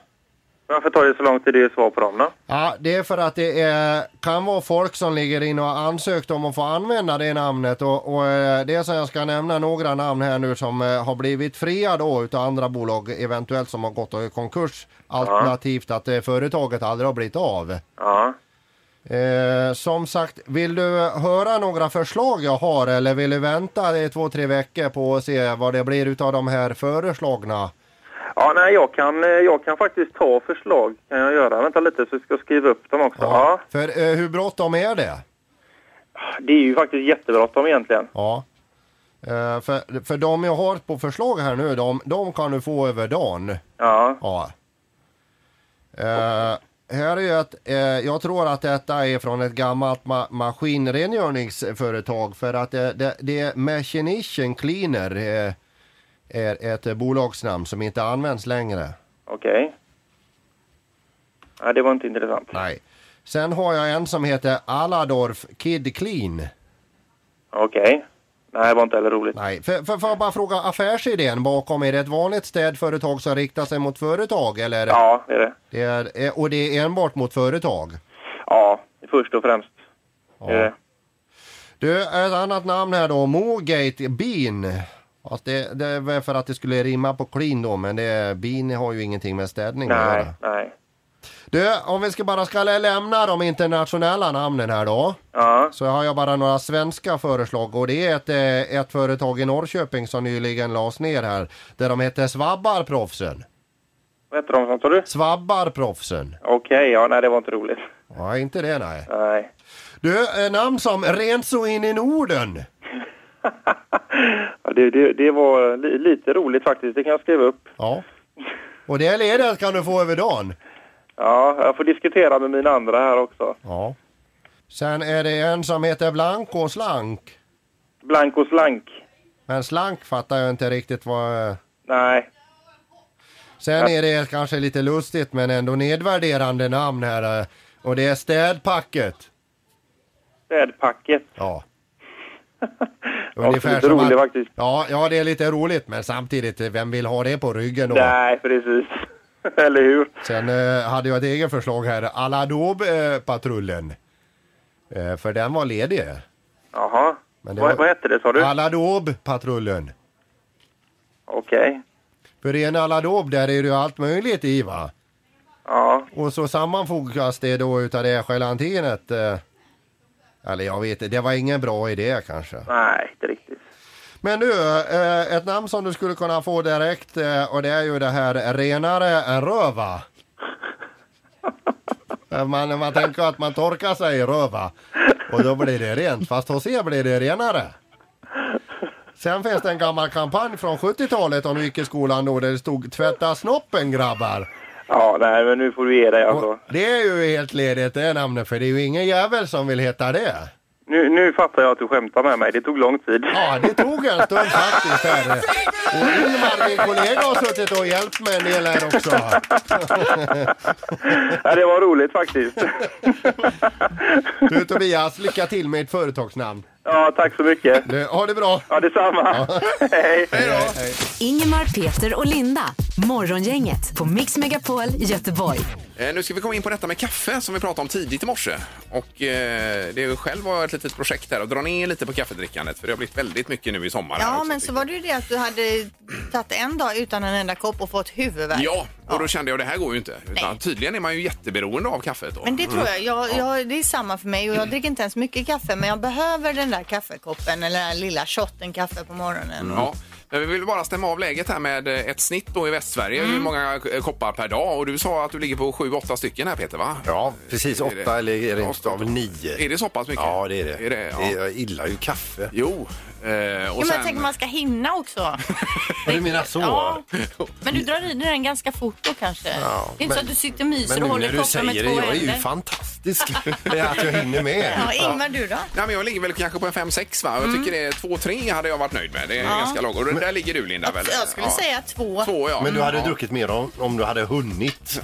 [SPEAKER 10] Varför tar det så lång tid att ge svar på dem då?
[SPEAKER 3] Ja, det är för att det är, kan vara folk som ligger in och har ansökt om att få använda det namnet och, och eh, det som jag ska nämna några namn här nu som eh, har blivit fria då utav andra bolag eventuellt som har gått i konkurs alternativt att eh, företaget aldrig har blivit av.
[SPEAKER 10] Ja.
[SPEAKER 3] Eh, som sagt, vill du höra några förslag jag har eller vill du vänta i två, tre veckor på att se vad det blir utav de här föreslagna?
[SPEAKER 10] Ja, nej, jag kan, eh, jag kan faktiskt ta förslag. Kan jag göra. Vänta lite så ska jag skriva upp dem också. Ja.
[SPEAKER 3] För eh, hur bråttom är det?
[SPEAKER 10] Det är ju faktiskt jättebråttom egentligen.
[SPEAKER 3] Ja. Eh, för, för de jag har på förslag här nu, de, de kan du få över dagen.
[SPEAKER 10] Ja.
[SPEAKER 3] Ja. Eh, här är ju ett, eh, jag tror att detta är från ett gammalt ma- maskinrengöringsföretag för att eh, det, det är Machinition Cleaner eh, är ett eh, bolagsnamn som inte används längre.
[SPEAKER 10] Okej. Nej, det var inte intressant.
[SPEAKER 3] Nej. Sen har jag en som heter Alladorf Kid Clean.
[SPEAKER 10] Okej. Nej, det var inte heller roligt.
[SPEAKER 3] Nej, för, för, får jag bara fråga affärsidén bakom, är det ett vanligt städföretag som riktar sig mot företag eller?
[SPEAKER 10] Ja, det är det.
[SPEAKER 3] Det är, eh, och det är enbart mot företag?
[SPEAKER 10] Ja, först och främst. Det är det.
[SPEAKER 3] Du, ett annat namn här då, Mogate Bean. Fast det, det är väl för att det skulle rimma på clean då, men det, bean har ju ingenting med städning att
[SPEAKER 10] Nej,
[SPEAKER 3] göra.
[SPEAKER 10] nej.
[SPEAKER 3] Du, om vi ska bara ska lämna de internationella namnen här då.
[SPEAKER 10] Ja,
[SPEAKER 3] Så har jag bara några svenska förslag och det är ett, eh, ett företag i Norrköping som nyligen lades ner här. Där de hette Svabbarproffsen.
[SPEAKER 10] vad heter de som sa du?
[SPEAKER 3] Svabbarproffsen.
[SPEAKER 10] Okej, ja, nej det var inte roligt.
[SPEAKER 3] Ja, inte det nej.
[SPEAKER 10] Nej.
[SPEAKER 3] Du, eh, namn som Renso in i Norden.
[SPEAKER 10] Ja, det, det, det var li, lite roligt faktiskt, det kan jag skriva upp.
[SPEAKER 3] Ja. Och det ledet kan du få över dagen.
[SPEAKER 10] Ja, jag får diskutera med mina andra här också.
[SPEAKER 3] Ja. Sen är det en som heter Blanco Slank.
[SPEAKER 10] Blank och slank.
[SPEAKER 3] Men slank fattar jag inte riktigt vad...
[SPEAKER 10] Nej,
[SPEAKER 3] Sen är det kanske lite lustigt men ändå nedvärderande namn här. eh, Och det är Städpacket.
[SPEAKER 10] städpacket.
[SPEAKER 3] Ja.
[SPEAKER 10] Ja, lite roligt faktiskt.
[SPEAKER 3] Ja, ja, det är lite roligt men samtidigt, eh, vem vill ha det på ryggen då?
[SPEAKER 10] Nej, precis. Eller hur?
[SPEAKER 3] Sen eh, hade jag ett eget förslag här. Aladob-patrullen. Eh, för den var ledig.
[SPEAKER 10] Mm. Jaha.
[SPEAKER 3] Men det
[SPEAKER 10] Vad,
[SPEAKER 3] var-
[SPEAKER 10] vad hette det sa du?
[SPEAKER 3] Aladob-patrullen.
[SPEAKER 10] Okej.
[SPEAKER 3] För i en Aladob där är det ju allt möjligt i va?
[SPEAKER 10] Ja,
[SPEAKER 3] Och så sammanfogas det då utav det här gelatinet. Eh, eller jag vet inte, det var ingen bra idé kanske.
[SPEAKER 10] nej, inte riktigt.
[SPEAKER 3] Men nu, eh, ett namn som du skulle kunna få direkt eh, och det är ju det här renare än röva. Eh, Man, man tänker att man torkar sig i röva och då blir det rent, fast hos er blir det renare. Sen finns det en gammal kampanj från 70-talet om du gick i skolan då där det stod tvätta snoppen grabbar.
[SPEAKER 10] Ja, nej, men nu får du ge dig alltså.
[SPEAKER 3] Och det är ju helt ledigt det namnet för det är ju ingen jävel som vill heta det.
[SPEAKER 10] Nu, nu fattar jag att du skämtar med mig. Det tog lång tid.
[SPEAKER 11] Ja, det tog en stund faktiskt. Här. Och Ingmar, min kollega, har suttit och hjälpt mig en del här också.
[SPEAKER 10] Ja, det var roligt faktiskt.
[SPEAKER 11] Du Tobias, lycka till med ett företagsnamn.
[SPEAKER 10] Ja, tack så mycket.
[SPEAKER 11] Du, ha det bra.
[SPEAKER 10] Ja, detsamma. Hej.
[SPEAKER 1] Ingemar, Peter och Linda. Morgongänget på Mix Megapol Göteborg.
[SPEAKER 2] Eh, Nu ska vi komma in på detta med kaffe som vi pratade om tidigt i morse. Och eh, det är ju själv har jag ett litet projekt här att dra ner lite på kaffedrickandet för det har blivit väldigt mycket nu i sommar. här
[SPEAKER 4] Ja,
[SPEAKER 2] också,
[SPEAKER 4] men
[SPEAKER 2] tycker
[SPEAKER 4] så
[SPEAKER 2] jag.
[SPEAKER 4] var det ju det att du hade tagit en dag utan en enda kopp och fått huvudvärk.
[SPEAKER 2] Ja, och då kände jag det här går ju inte. Utan tydligen är man ju jätteberoende av kaffet då.
[SPEAKER 4] Men det tror jag. Jag, jag. Det är samma för mig och jag dricker inte ens mycket kaffe men jag behöver den där kaffekoppen eller den där lilla shotten kaffe på morgonen.
[SPEAKER 2] Ja. Men vi vill bara stämma av läget här med eh, ett snitt då i Västsverige.
[SPEAKER 3] Mm.
[SPEAKER 2] Hur många eh, koppar per dag? Och du sa att du ligger på 7-8 stycken här Peter va?
[SPEAKER 3] Ja, precis.
[SPEAKER 2] Är det-
[SPEAKER 3] Åtta eller rent
[SPEAKER 2] Åtta.
[SPEAKER 3] av nio.
[SPEAKER 2] Är det så pass mycket?
[SPEAKER 3] Ja, det är det.
[SPEAKER 2] Är det, ja.
[SPEAKER 3] Jag gillar ju kaffe.
[SPEAKER 2] Jo. Eh, och
[SPEAKER 4] Jo, men
[SPEAKER 2] sen...
[SPEAKER 4] jag tänker man ska hinna också.
[SPEAKER 3] Ja, du menar så?
[SPEAKER 4] Ja. Men du drar i dig den ganska fort då kanske. det är inte så
[SPEAKER 3] men-
[SPEAKER 4] att du sitter och myser
[SPEAKER 3] Men
[SPEAKER 4] och
[SPEAKER 3] nu när
[SPEAKER 4] håller
[SPEAKER 3] du
[SPEAKER 4] koppen med
[SPEAKER 3] säger
[SPEAKER 4] två
[SPEAKER 3] det, jag är ju
[SPEAKER 4] händer.
[SPEAKER 3] fantastisk. Det är att jag hinner med.
[SPEAKER 4] Ja, Ingmar, du då?
[SPEAKER 2] Nej, men jag ligger väl kanske på en 5-6 va? Jag
[SPEAKER 4] Mm.
[SPEAKER 2] tycker det är 2-3 hade jag varit nöjd med. Det är ganska lagom. Och där ligger du Linda väl?
[SPEAKER 4] Jag skulle
[SPEAKER 2] Ja.
[SPEAKER 4] säga två.
[SPEAKER 2] Två ja.
[SPEAKER 3] Men du hade
[SPEAKER 2] ja.
[SPEAKER 3] druckit mer om, om du hade hunnit.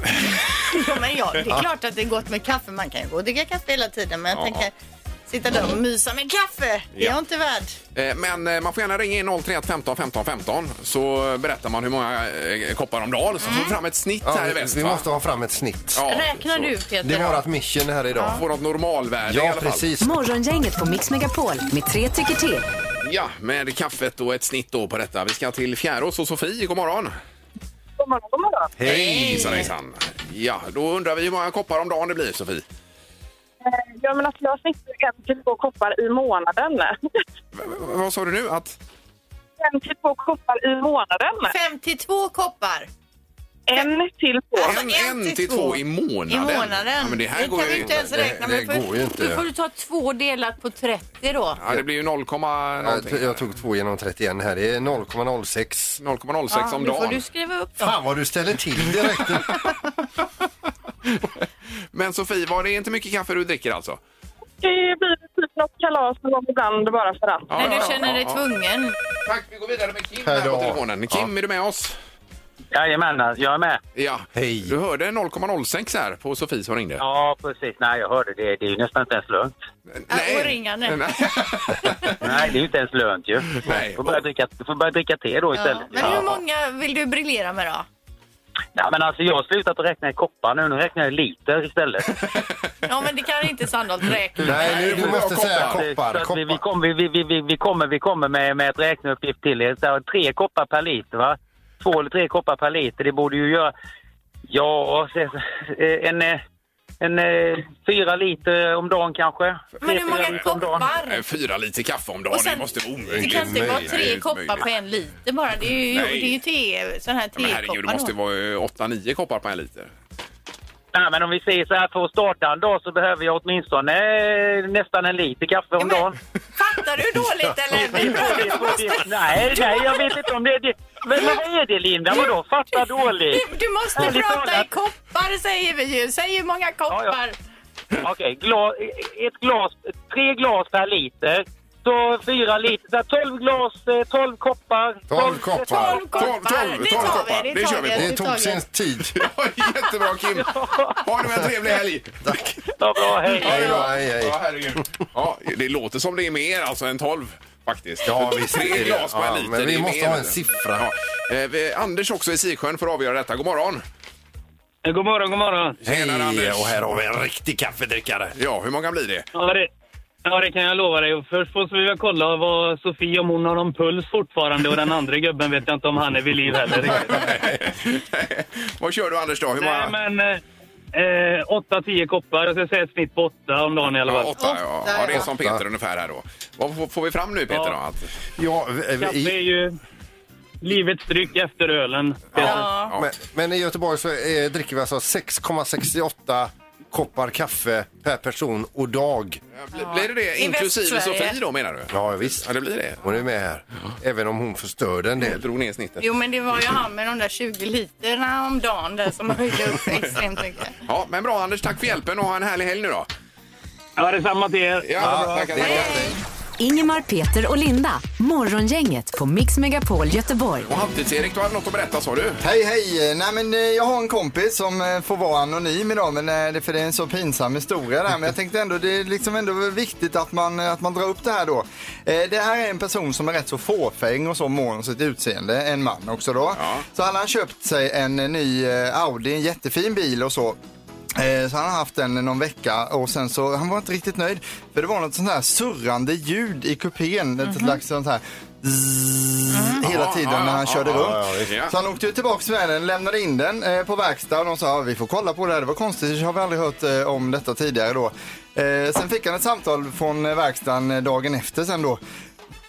[SPEAKER 4] Ja, men ja, det är klart att det är gott med kaffe. Man kan ju gå och dricka kaffe hela tiden men jag tänker sitta där och mysa med kaffe. Det är jag inte värd.
[SPEAKER 2] Eh, Men eh, man får gärna ringa in 031 15 15 15 så berättar man hur många eh, koppar om dagen. Så får vi fram ett snitt
[SPEAKER 3] Mm. Ja,
[SPEAKER 2] här i
[SPEAKER 3] vi-
[SPEAKER 2] väst
[SPEAKER 3] vi
[SPEAKER 2] va?
[SPEAKER 3] måste ha fram ett snitt.
[SPEAKER 2] Ja,
[SPEAKER 4] Räknar
[SPEAKER 2] så-
[SPEAKER 4] du Peter?
[SPEAKER 3] Det var ett mission här idag.
[SPEAKER 2] Får något normalvärde i
[SPEAKER 3] Ja,
[SPEAKER 2] alla fall.
[SPEAKER 3] precis.
[SPEAKER 1] Morgongänget på Mix Megapol med tre tycker till.
[SPEAKER 2] Ja, med kaffet och ett snitt då på detta. Vi ska till Fjärås och Sofie. God morgon!
[SPEAKER 5] God morgon, god morgon.
[SPEAKER 2] Hej! Hejsan, Ja, då undrar vi hur många koppar om dagen det blir, Sofie.
[SPEAKER 5] Eh, Ja, men alltså, jag snittar en till två koppar i månaden.
[SPEAKER 2] V- v- vad sa du nu? Att...
[SPEAKER 5] En till två koppar i månaden.
[SPEAKER 4] 52 koppar
[SPEAKER 5] En till två.
[SPEAKER 2] En,
[SPEAKER 4] Alltså,
[SPEAKER 2] en, till två i månaden.
[SPEAKER 4] i månaden.
[SPEAKER 2] Ja, men det här
[SPEAKER 4] det
[SPEAKER 2] går
[SPEAKER 4] kan
[SPEAKER 2] ju...
[SPEAKER 4] vi inte ens räkna
[SPEAKER 3] det-
[SPEAKER 4] med.
[SPEAKER 3] det
[SPEAKER 4] för-
[SPEAKER 3] går ju inte.
[SPEAKER 4] Då får du ta två delat på 30 då.
[SPEAKER 2] Ja, det blir ju 0,
[SPEAKER 3] Jag,
[SPEAKER 2] någonting.
[SPEAKER 3] t- jag tog 2 genom 31 här. Det är 0,06.
[SPEAKER 2] 0,06 om
[SPEAKER 4] då får
[SPEAKER 2] dagen.
[SPEAKER 4] du skriva upp dem.
[SPEAKER 3] Fan vad du ställer till direkt.
[SPEAKER 2] Men Sofie, var det inte mycket kaffe du dricker alltså?
[SPEAKER 5] Det blir typ något kalas någon gång ibland bara för att.
[SPEAKER 2] Ja,
[SPEAKER 4] När
[SPEAKER 2] ja,
[SPEAKER 4] du känner
[SPEAKER 2] ja,
[SPEAKER 4] dig
[SPEAKER 2] ja.
[SPEAKER 4] tvungen.
[SPEAKER 2] Tack, vi går vidare med Kim
[SPEAKER 3] Hej
[SPEAKER 2] här på
[SPEAKER 3] då.
[SPEAKER 2] telefonen. Kim, är du med oss?
[SPEAKER 6] Jajamän, alltså, jag är med.
[SPEAKER 2] Ja.
[SPEAKER 3] Hej.
[SPEAKER 2] Du hörde 0,06 här på Sofie som ringde.
[SPEAKER 6] Ja, precis. Nej, jag hörde det. Det är ju nästan inte ens lönt.
[SPEAKER 4] Ja, Äh, och ringa nu.
[SPEAKER 6] Nej, det är ju inte ens lönt ju.
[SPEAKER 2] Nej.
[SPEAKER 6] Får börja dricka, får börja dricka te då
[SPEAKER 4] Ja.
[SPEAKER 6] istället.
[SPEAKER 4] Men hur många vill du briljera med då?
[SPEAKER 6] Ja, men alltså jag har slutat att räkna i koppar nu. Nu räknar jag i liter istället.
[SPEAKER 4] Ja, men det kan inte Sandholt räkna.
[SPEAKER 3] Nej, nu, du måste säga
[SPEAKER 6] Så
[SPEAKER 3] koppar.
[SPEAKER 6] att vi, vi,
[SPEAKER 3] koppar.
[SPEAKER 6] kom, vi, vi, vi- vi, vi kommer, vi kommer med, med ett räkneuppgift till er. Så här, tre koppar per liter, va? Två eller tre koppar per liter, det borde ju göra... Ja, se- eh, en, eh, en, eh, fyra liter om dagen kanske.
[SPEAKER 4] Men hur många
[SPEAKER 6] liter om dagen.
[SPEAKER 4] koppar?
[SPEAKER 2] Nej, Eh, Fyra liter kaffe om dagen,
[SPEAKER 4] Och sen-
[SPEAKER 2] det måste vara
[SPEAKER 4] Det
[SPEAKER 2] omöjligt.
[SPEAKER 4] kan inte vara
[SPEAKER 2] Nej, det är
[SPEAKER 4] tre koppar
[SPEAKER 2] omöjligt.
[SPEAKER 4] på en liter bara. Det är ju,
[SPEAKER 2] Nej.
[SPEAKER 4] det är ju te, sån här
[SPEAKER 2] Ja, Men herregud, det
[SPEAKER 4] tekoppar.
[SPEAKER 2] måste ju
[SPEAKER 4] då.
[SPEAKER 2] vara 8-9 koppar på en liter.
[SPEAKER 6] Nej, men om vi säger så här, för att starta en dag så behöver jag åtminstone eh, nästan en liter kaffe om
[SPEAKER 4] Ja, men-
[SPEAKER 6] dagen.
[SPEAKER 4] Fattar du dåligt eller? Det är bra,
[SPEAKER 6] Det-
[SPEAKER 4] du
[SPEAKER 6] det-
[SPEAKER 4] måste-
[SPEAKER 6] Nej, nej, jag vet inte om det är det. Men men vad är det Linda? Vadå fatta dåligt?
[SPEAKER 4] Du, du måste
[SPEAKER 6] Dåligt
[SPEAKER 4] prata i
[SPEAKER 6] talat.
[SPEAKER 4] koppar säger vi ju. Säg hur många koppar.
[SPEAKER 6] Okej, gla- ett glas, tre glas per liter. Så fyra liter, så här, tolv glas, eh, tolv koppar.
[SPEAKER 3] Tolv koppar.
[SPEAKER 4] Tolv koppar.
[SPEAKER 2] tolv-
[SPEAKER 4] Det
[SPEAKER 2] tolv
[SPEAKER 4] tar
[SPEAKER 2] koppar.
[SPEAKER 4] vi.
[SPEAKER 2] Det kör vi på.
[SPEAKER 3] Det
[SPEAKER 4] Det tar
[SPEAKER 3] tog sin
[SPEAKER 4] vi.
[SPEAKER 3] tid.
[SPEAKER 2] Ja, Jättebra Kim! Ha nu en trevlig helg! Tack!
[SPEAKER 6] Ja, bra, hej.
[SPEAKER 3] Hej då, hej, hej.
[SPEAKER 2] Ja, herregud. Ja, det låter som det är mer alltså än 12 faktiskt.
[SPEAKER 3] Ja, visst är
[SPEAKER 2] Tre
[SPEAKER 3] det.
[SPEAKER 2] glas på en
[SPEAKER 3] Ja,
[SPEAKER 2] liter.
[SPEAKER 3] men vi
[SPEAKER 2] det är
[SPEAKER 3] måste
[SPEAKER 2] mer.
[SPEAKER 3] ha en siffra.
[SPEAKER 2] Ja. Eh, vi- Anders också i Sisjön får avgöra detta. God morgon!
[SPEAKER 6] God morgon, god morgon.
[SPEAKER 2] Tjenare, Anders.
[SPEAKER 3] och här har vi en riktig kaffedrickare.
[SPEAKER 2] Ja, hur många blir det?
[SPEAKER 6] Ja, det, ja, det kan jag lova dig. Först måste vi väl kolla vad Sofie, om hon har någon puls fortfarande. Och den andra gubben vet jag inte om han är vid liv heller.
[SPEAKER 2] Vad kör du Anders då? Hur många?
[SPEAKER 6] Nej, men... Eh, 8-10 koppar. Jag ska säga ett snitt på 8 om dagen i alla
[SPEAKER 2] Ja,
[SPEAKER 6] fall.
[SPEAKER 2] åtta, ja.
[SPEAKER 4] Åtta,
[SPEAKER 2] ja, det är
[SPEAKER 4] ja.
[SPEAKER 2] som Peter ungefär här då. Vad får- får vi fram nu Peter
[SPEAKER 6] Ja.
[SPEAKER 2] då? Att,
[SPEAKER 3] Ja, vi-
[SPEAKER 6] Kaffe är
[SPEAKER 3] i,
[SPEAKER 6] ju livets dryck efter ölen.
[SPEAKER 4] Ja.
[SPEAKER 2] ja.
[SPEAKER 3] men, men i Göteborg så eh, dricker vi alltså 6,68 koppar kaffe per person och dag.
[SPEAKER 2] Bli- Blir det det
[SPEAKER 4] I
[SPEAKER 2] inklusive
[SPEAKER 4] Västsverige.
[SPEAKER 2] Sofie då menar du?
[SPEAKER 3] Ja, visst.
[SPEAKER 2] Ja, det blir det.
[SPEAKER 3] Hon är med här, även om hon förstörde en
[SPEAKER 2] Jag
[SPEAKER 3] del.
[SPEAKER 2] drog ner snittet.
[SPEAKER 4] Jo, men det var ju han med de där 20 literna om dagen där som höjde upp extremt mycket.
[SPEAKER 2] Ja, men bra Anders, tack för hjälpen och ha en härlig helg nu då.
[SPEAKER 6] Ja, detsamma till er.
[SPEAKER 2] Ja, tackar.
[SPEAKER 1] Ingemar, Peter och Linda. Morgongänget på Mix Megapol Göteborg.
[SPEAKER 2] Och Halvtids-Erik, du hade något att berätta sa du?
[SPEAKER 7] Hej hej! Nej men eh, jag har en kompis som eh, får vara anonym idag men eh, det, för det är en så pinsam historia där. Men jag tänkte ändå det är liksom ändå viktigt att man, att man drar upp det här då. Eh, Det här är en person som är rätt så fåfäng och så mån om sitt utseende. En man också då. Så han har köpt sig en eh, ny eh, Audi, en jättefin bil och så. Eh, Så han har haft den någon vecka och sen så, han var inte riktigt nöjd. För det var något sånt här surrande ljud i kupén.
[SPEAKER 2] Mhm.
[SPEAKER 7] Ett slags sånt här zzz, hela tiden när han körde runt.
[SPEAKER 2] ja.
[SPEAKER 7] Så han åkte ju tillbaks med den, lämnade in den eh, på verkstad och de sa "Ja, vi får kolla på det här, det var konstigt, jag har vi aldrig hört eh, om detta tidigare då. Eh, sen fick han ett samtal från eh, verkstaden eh, dagen efter sen då.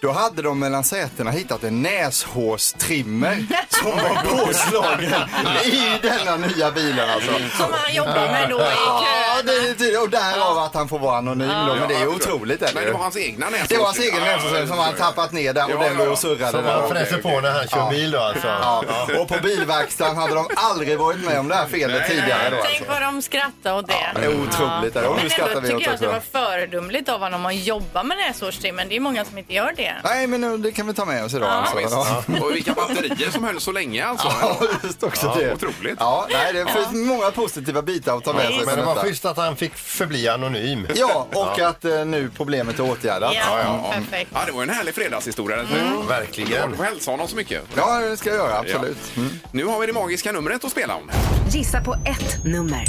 [SPEAKER 7] Då hade de mellan sätena hittat en näshårstrimmer som var påslagen i denna nya bilen alltså.
[SPEAKER 2] Mm.
[SPEAKER 4] Som han jobbar med då i
[SPEAKER 7] Ja,
[SPEAKER 4] köerna.
[SPEAKER 7] det är tydligt. Och därav att han får vara anonym då, men det är
[SPEAKER 2] Ja,
[SPEAKER 7] ju
[SPEAKER 2] absolut.
[SPEAKER 7] otroligt. Eller?
[SPEAKER 2] Nej, det var hans egna näsa.
[SPEAKER 7] Det var hans egen näshårstrimmer som han tappat ner där
[SPEAKER 2] Ja,
[SPEAKER 7] och den
[SPEAKER 2] ja.
[SPEAKER 7] låg och surrade
[SPEAKER 3] Som
[SPEAKER 7] där.
[SPEAKER 3] han fräser på när han kör bil då alltså.
[SPEAKER 7] Ja. Och på bilverkstaden hade de aldrig varit med om det här felet
[SPEAKER 2] Nej, nej,
[SPEAKER 7] tidigare. Då,
[SPEAKER 2] nej.
[SPEAKER 7] alltså.
[SPEAKER 12] Tänk vad de skrattade åt det.
[SPEAKER 7] Det är otroligt. Och nu
[SPEAKER 12] Men
[SPEAKER 7] skrattar
[SPEAKER 12] ändå
[SPEAKER 7] vi
[SPEAKER 12] tycker
[SPEAKER 7] åt
[SPEAKER 12] jag att det
[SPEAKER 7] också.
[SPEAKER 12] var föredömligt av honom att jobba med näshårstrimmen. Det är många som inte gör det.
[SPEAKER 7] Nej, men nu- det kan vi ta med oss idag. alltså.
[SPEAKER 2] Ja, visst. Och vilka batterier som höll så länge alltså.
[SPEAKER 7] Ja, just också
[SPEAKER 2] Ja,
[SPEAKER 7] det.
[SPEAKER 2] otroligt.
[SPEAKER 7] Ja, nej, det finns många positiva bitar att ta med sig.
[SPEAKER 3] Men
[SPEAKER 7] från
[SPEAKER 3] det var
[SPEAKER 7] detta.
[SPEAKER 3] schysst att han fick förbli anonym.
[SPEAKER 7] Ja, och att eh, nu problemet är åtgärdat.
[SPEAKER 12] Ja, perfekt.
[SPEAKER 2] Ja, det var en härlig fredagshistoria. Mm. Du
[SPEAKER 3] Verkligen.
[SPEAKER 2] får hälsa honom så mycket.
[SPEAKER 7] Ja, det ska jag göra, absolut. Mm.
[SPEAKER 2] Nu har vi det magiska numret att spela om.
[SPEAKER 1] Gissa på ett nummer.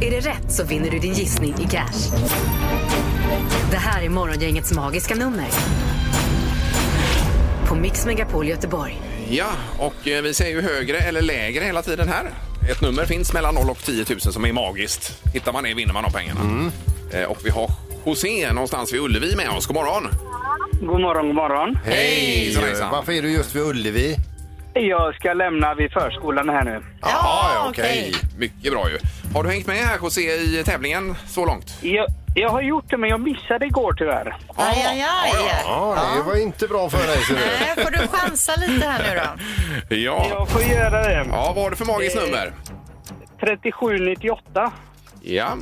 [SPEAKER 1] Är det rätt så vinner du din gissning i cash. Det här är Morgongängets magiska nummer. På Mix Megapol Göteborg.
[SPEAKER 2] Ja, och eh, vi säger ju högre eller lägre hela tiden här. Ett nummer finns mellan 0 och 10 000 som är magiskt. Hittar man det vinner man de pengarna. Eh, Och vi har José någonstans vid Ullevi med oss. God morgon!
[SPEAKER 6] God morgon, god morgon.
[SPEAKER 2] Hej! Så hejsan.
[SPEAKER 3] Varför är du just vid Ullevi?
[SPEAKER 6] Jag ska lämna vid förskolan här nu.
[SPEAKER 2] Ja, ja,
[SPEAKER 12] okej.
[SPEAKER 2] Mycket bra ju. Har du hängt med här José i tävlingen så långt?
[SPEAKER 6] Jag, jag har gjort det, men jag missade igår tyvärr.
[SPEAKER 4] Aj, aj, aj.
[SPEAKER 3] Ja, det var inte bra för dig. ser du.
[SPEAKER 4] Nej, får du chansa lite här nu då?
[SPEAKER 2] Ja.
[SPEAKER 6] Jag får göra det.
[SPEAKER 2] Ja, vad har du för magiskt
[SPEAKER 6] Eh.
[SPEAKER 2] nummer?
[SPEAKER 6] 3798.
[SPEAKER 2] Ja.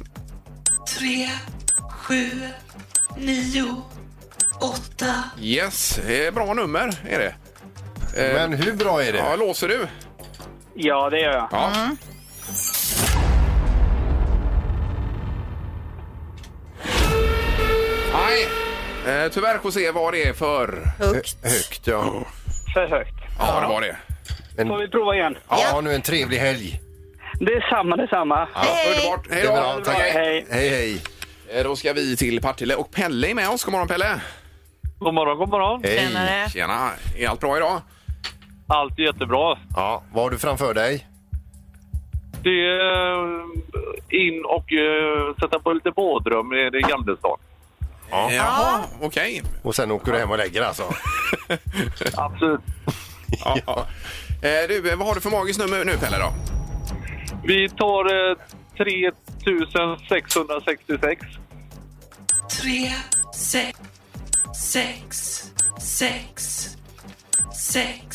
[SPEAKER 2] Yes, eh, bra nummer är det. Eh,
[SPEAKER 3] Men hur bra är
[SPEAKER 2] Ja,
[SPEAKER 3] det?
[SPEAKER 2] låser du?
[SPEAKER 6] Ja, det gör jag.
[SPEAKER 2] Ja. Nej, eh, tyvärr José var det för...
[SPEAKER 4] Högt.
[SPEAKER 3] Högt ja.
[SPEAKER 6] För högt.
[SPEAKER 2] Ja, det var det.
[SPEAKER 6] Får vi prova igen?
[SPEAKER 3] Ja, nu en trevlig helg.
[SPEAKER 6] Det är samma, det är samma.
[SPEAKER 2] Ja, Underbart. Hej
[SPEAKER 3] Det är
[SPEAKER 2] då.
[SPEAKER 3] bra,
[SPEAKER 6] Hej, hej.
[SPEAKER 3] Hej hej.
[SPEAKER 2] Eh, Då ska vi till Partille och Pelle är med oss. God morgon Pelle!
[SPEAKER 6] God morgon, god morgon.
[SPEAKER 3] Hej.
[SPEAKER 12] Senare.
[SPEAKER 2] Tjena! Är allt bra idag?
[SPEAKER 6] Allt är jättebra.
[SPEAKER 3] Ja, vad har du framför dig?
[SPEAKER 6] Det är eh, in och eh, sätta på lite bådrum i det gamla stan.
[SPEAKER 2] Ja. Jaha, okej.
[SPEAKER 3] Och sen åker du hem och lägger alltså.
[SPEAKER 6] Absolut.
[SPEAKER 2] Ja. Eh, Du, eh, vad har du för magiskt nummer nu Pelle då?
[SPEAKER 6] Vi tar eh, 3666.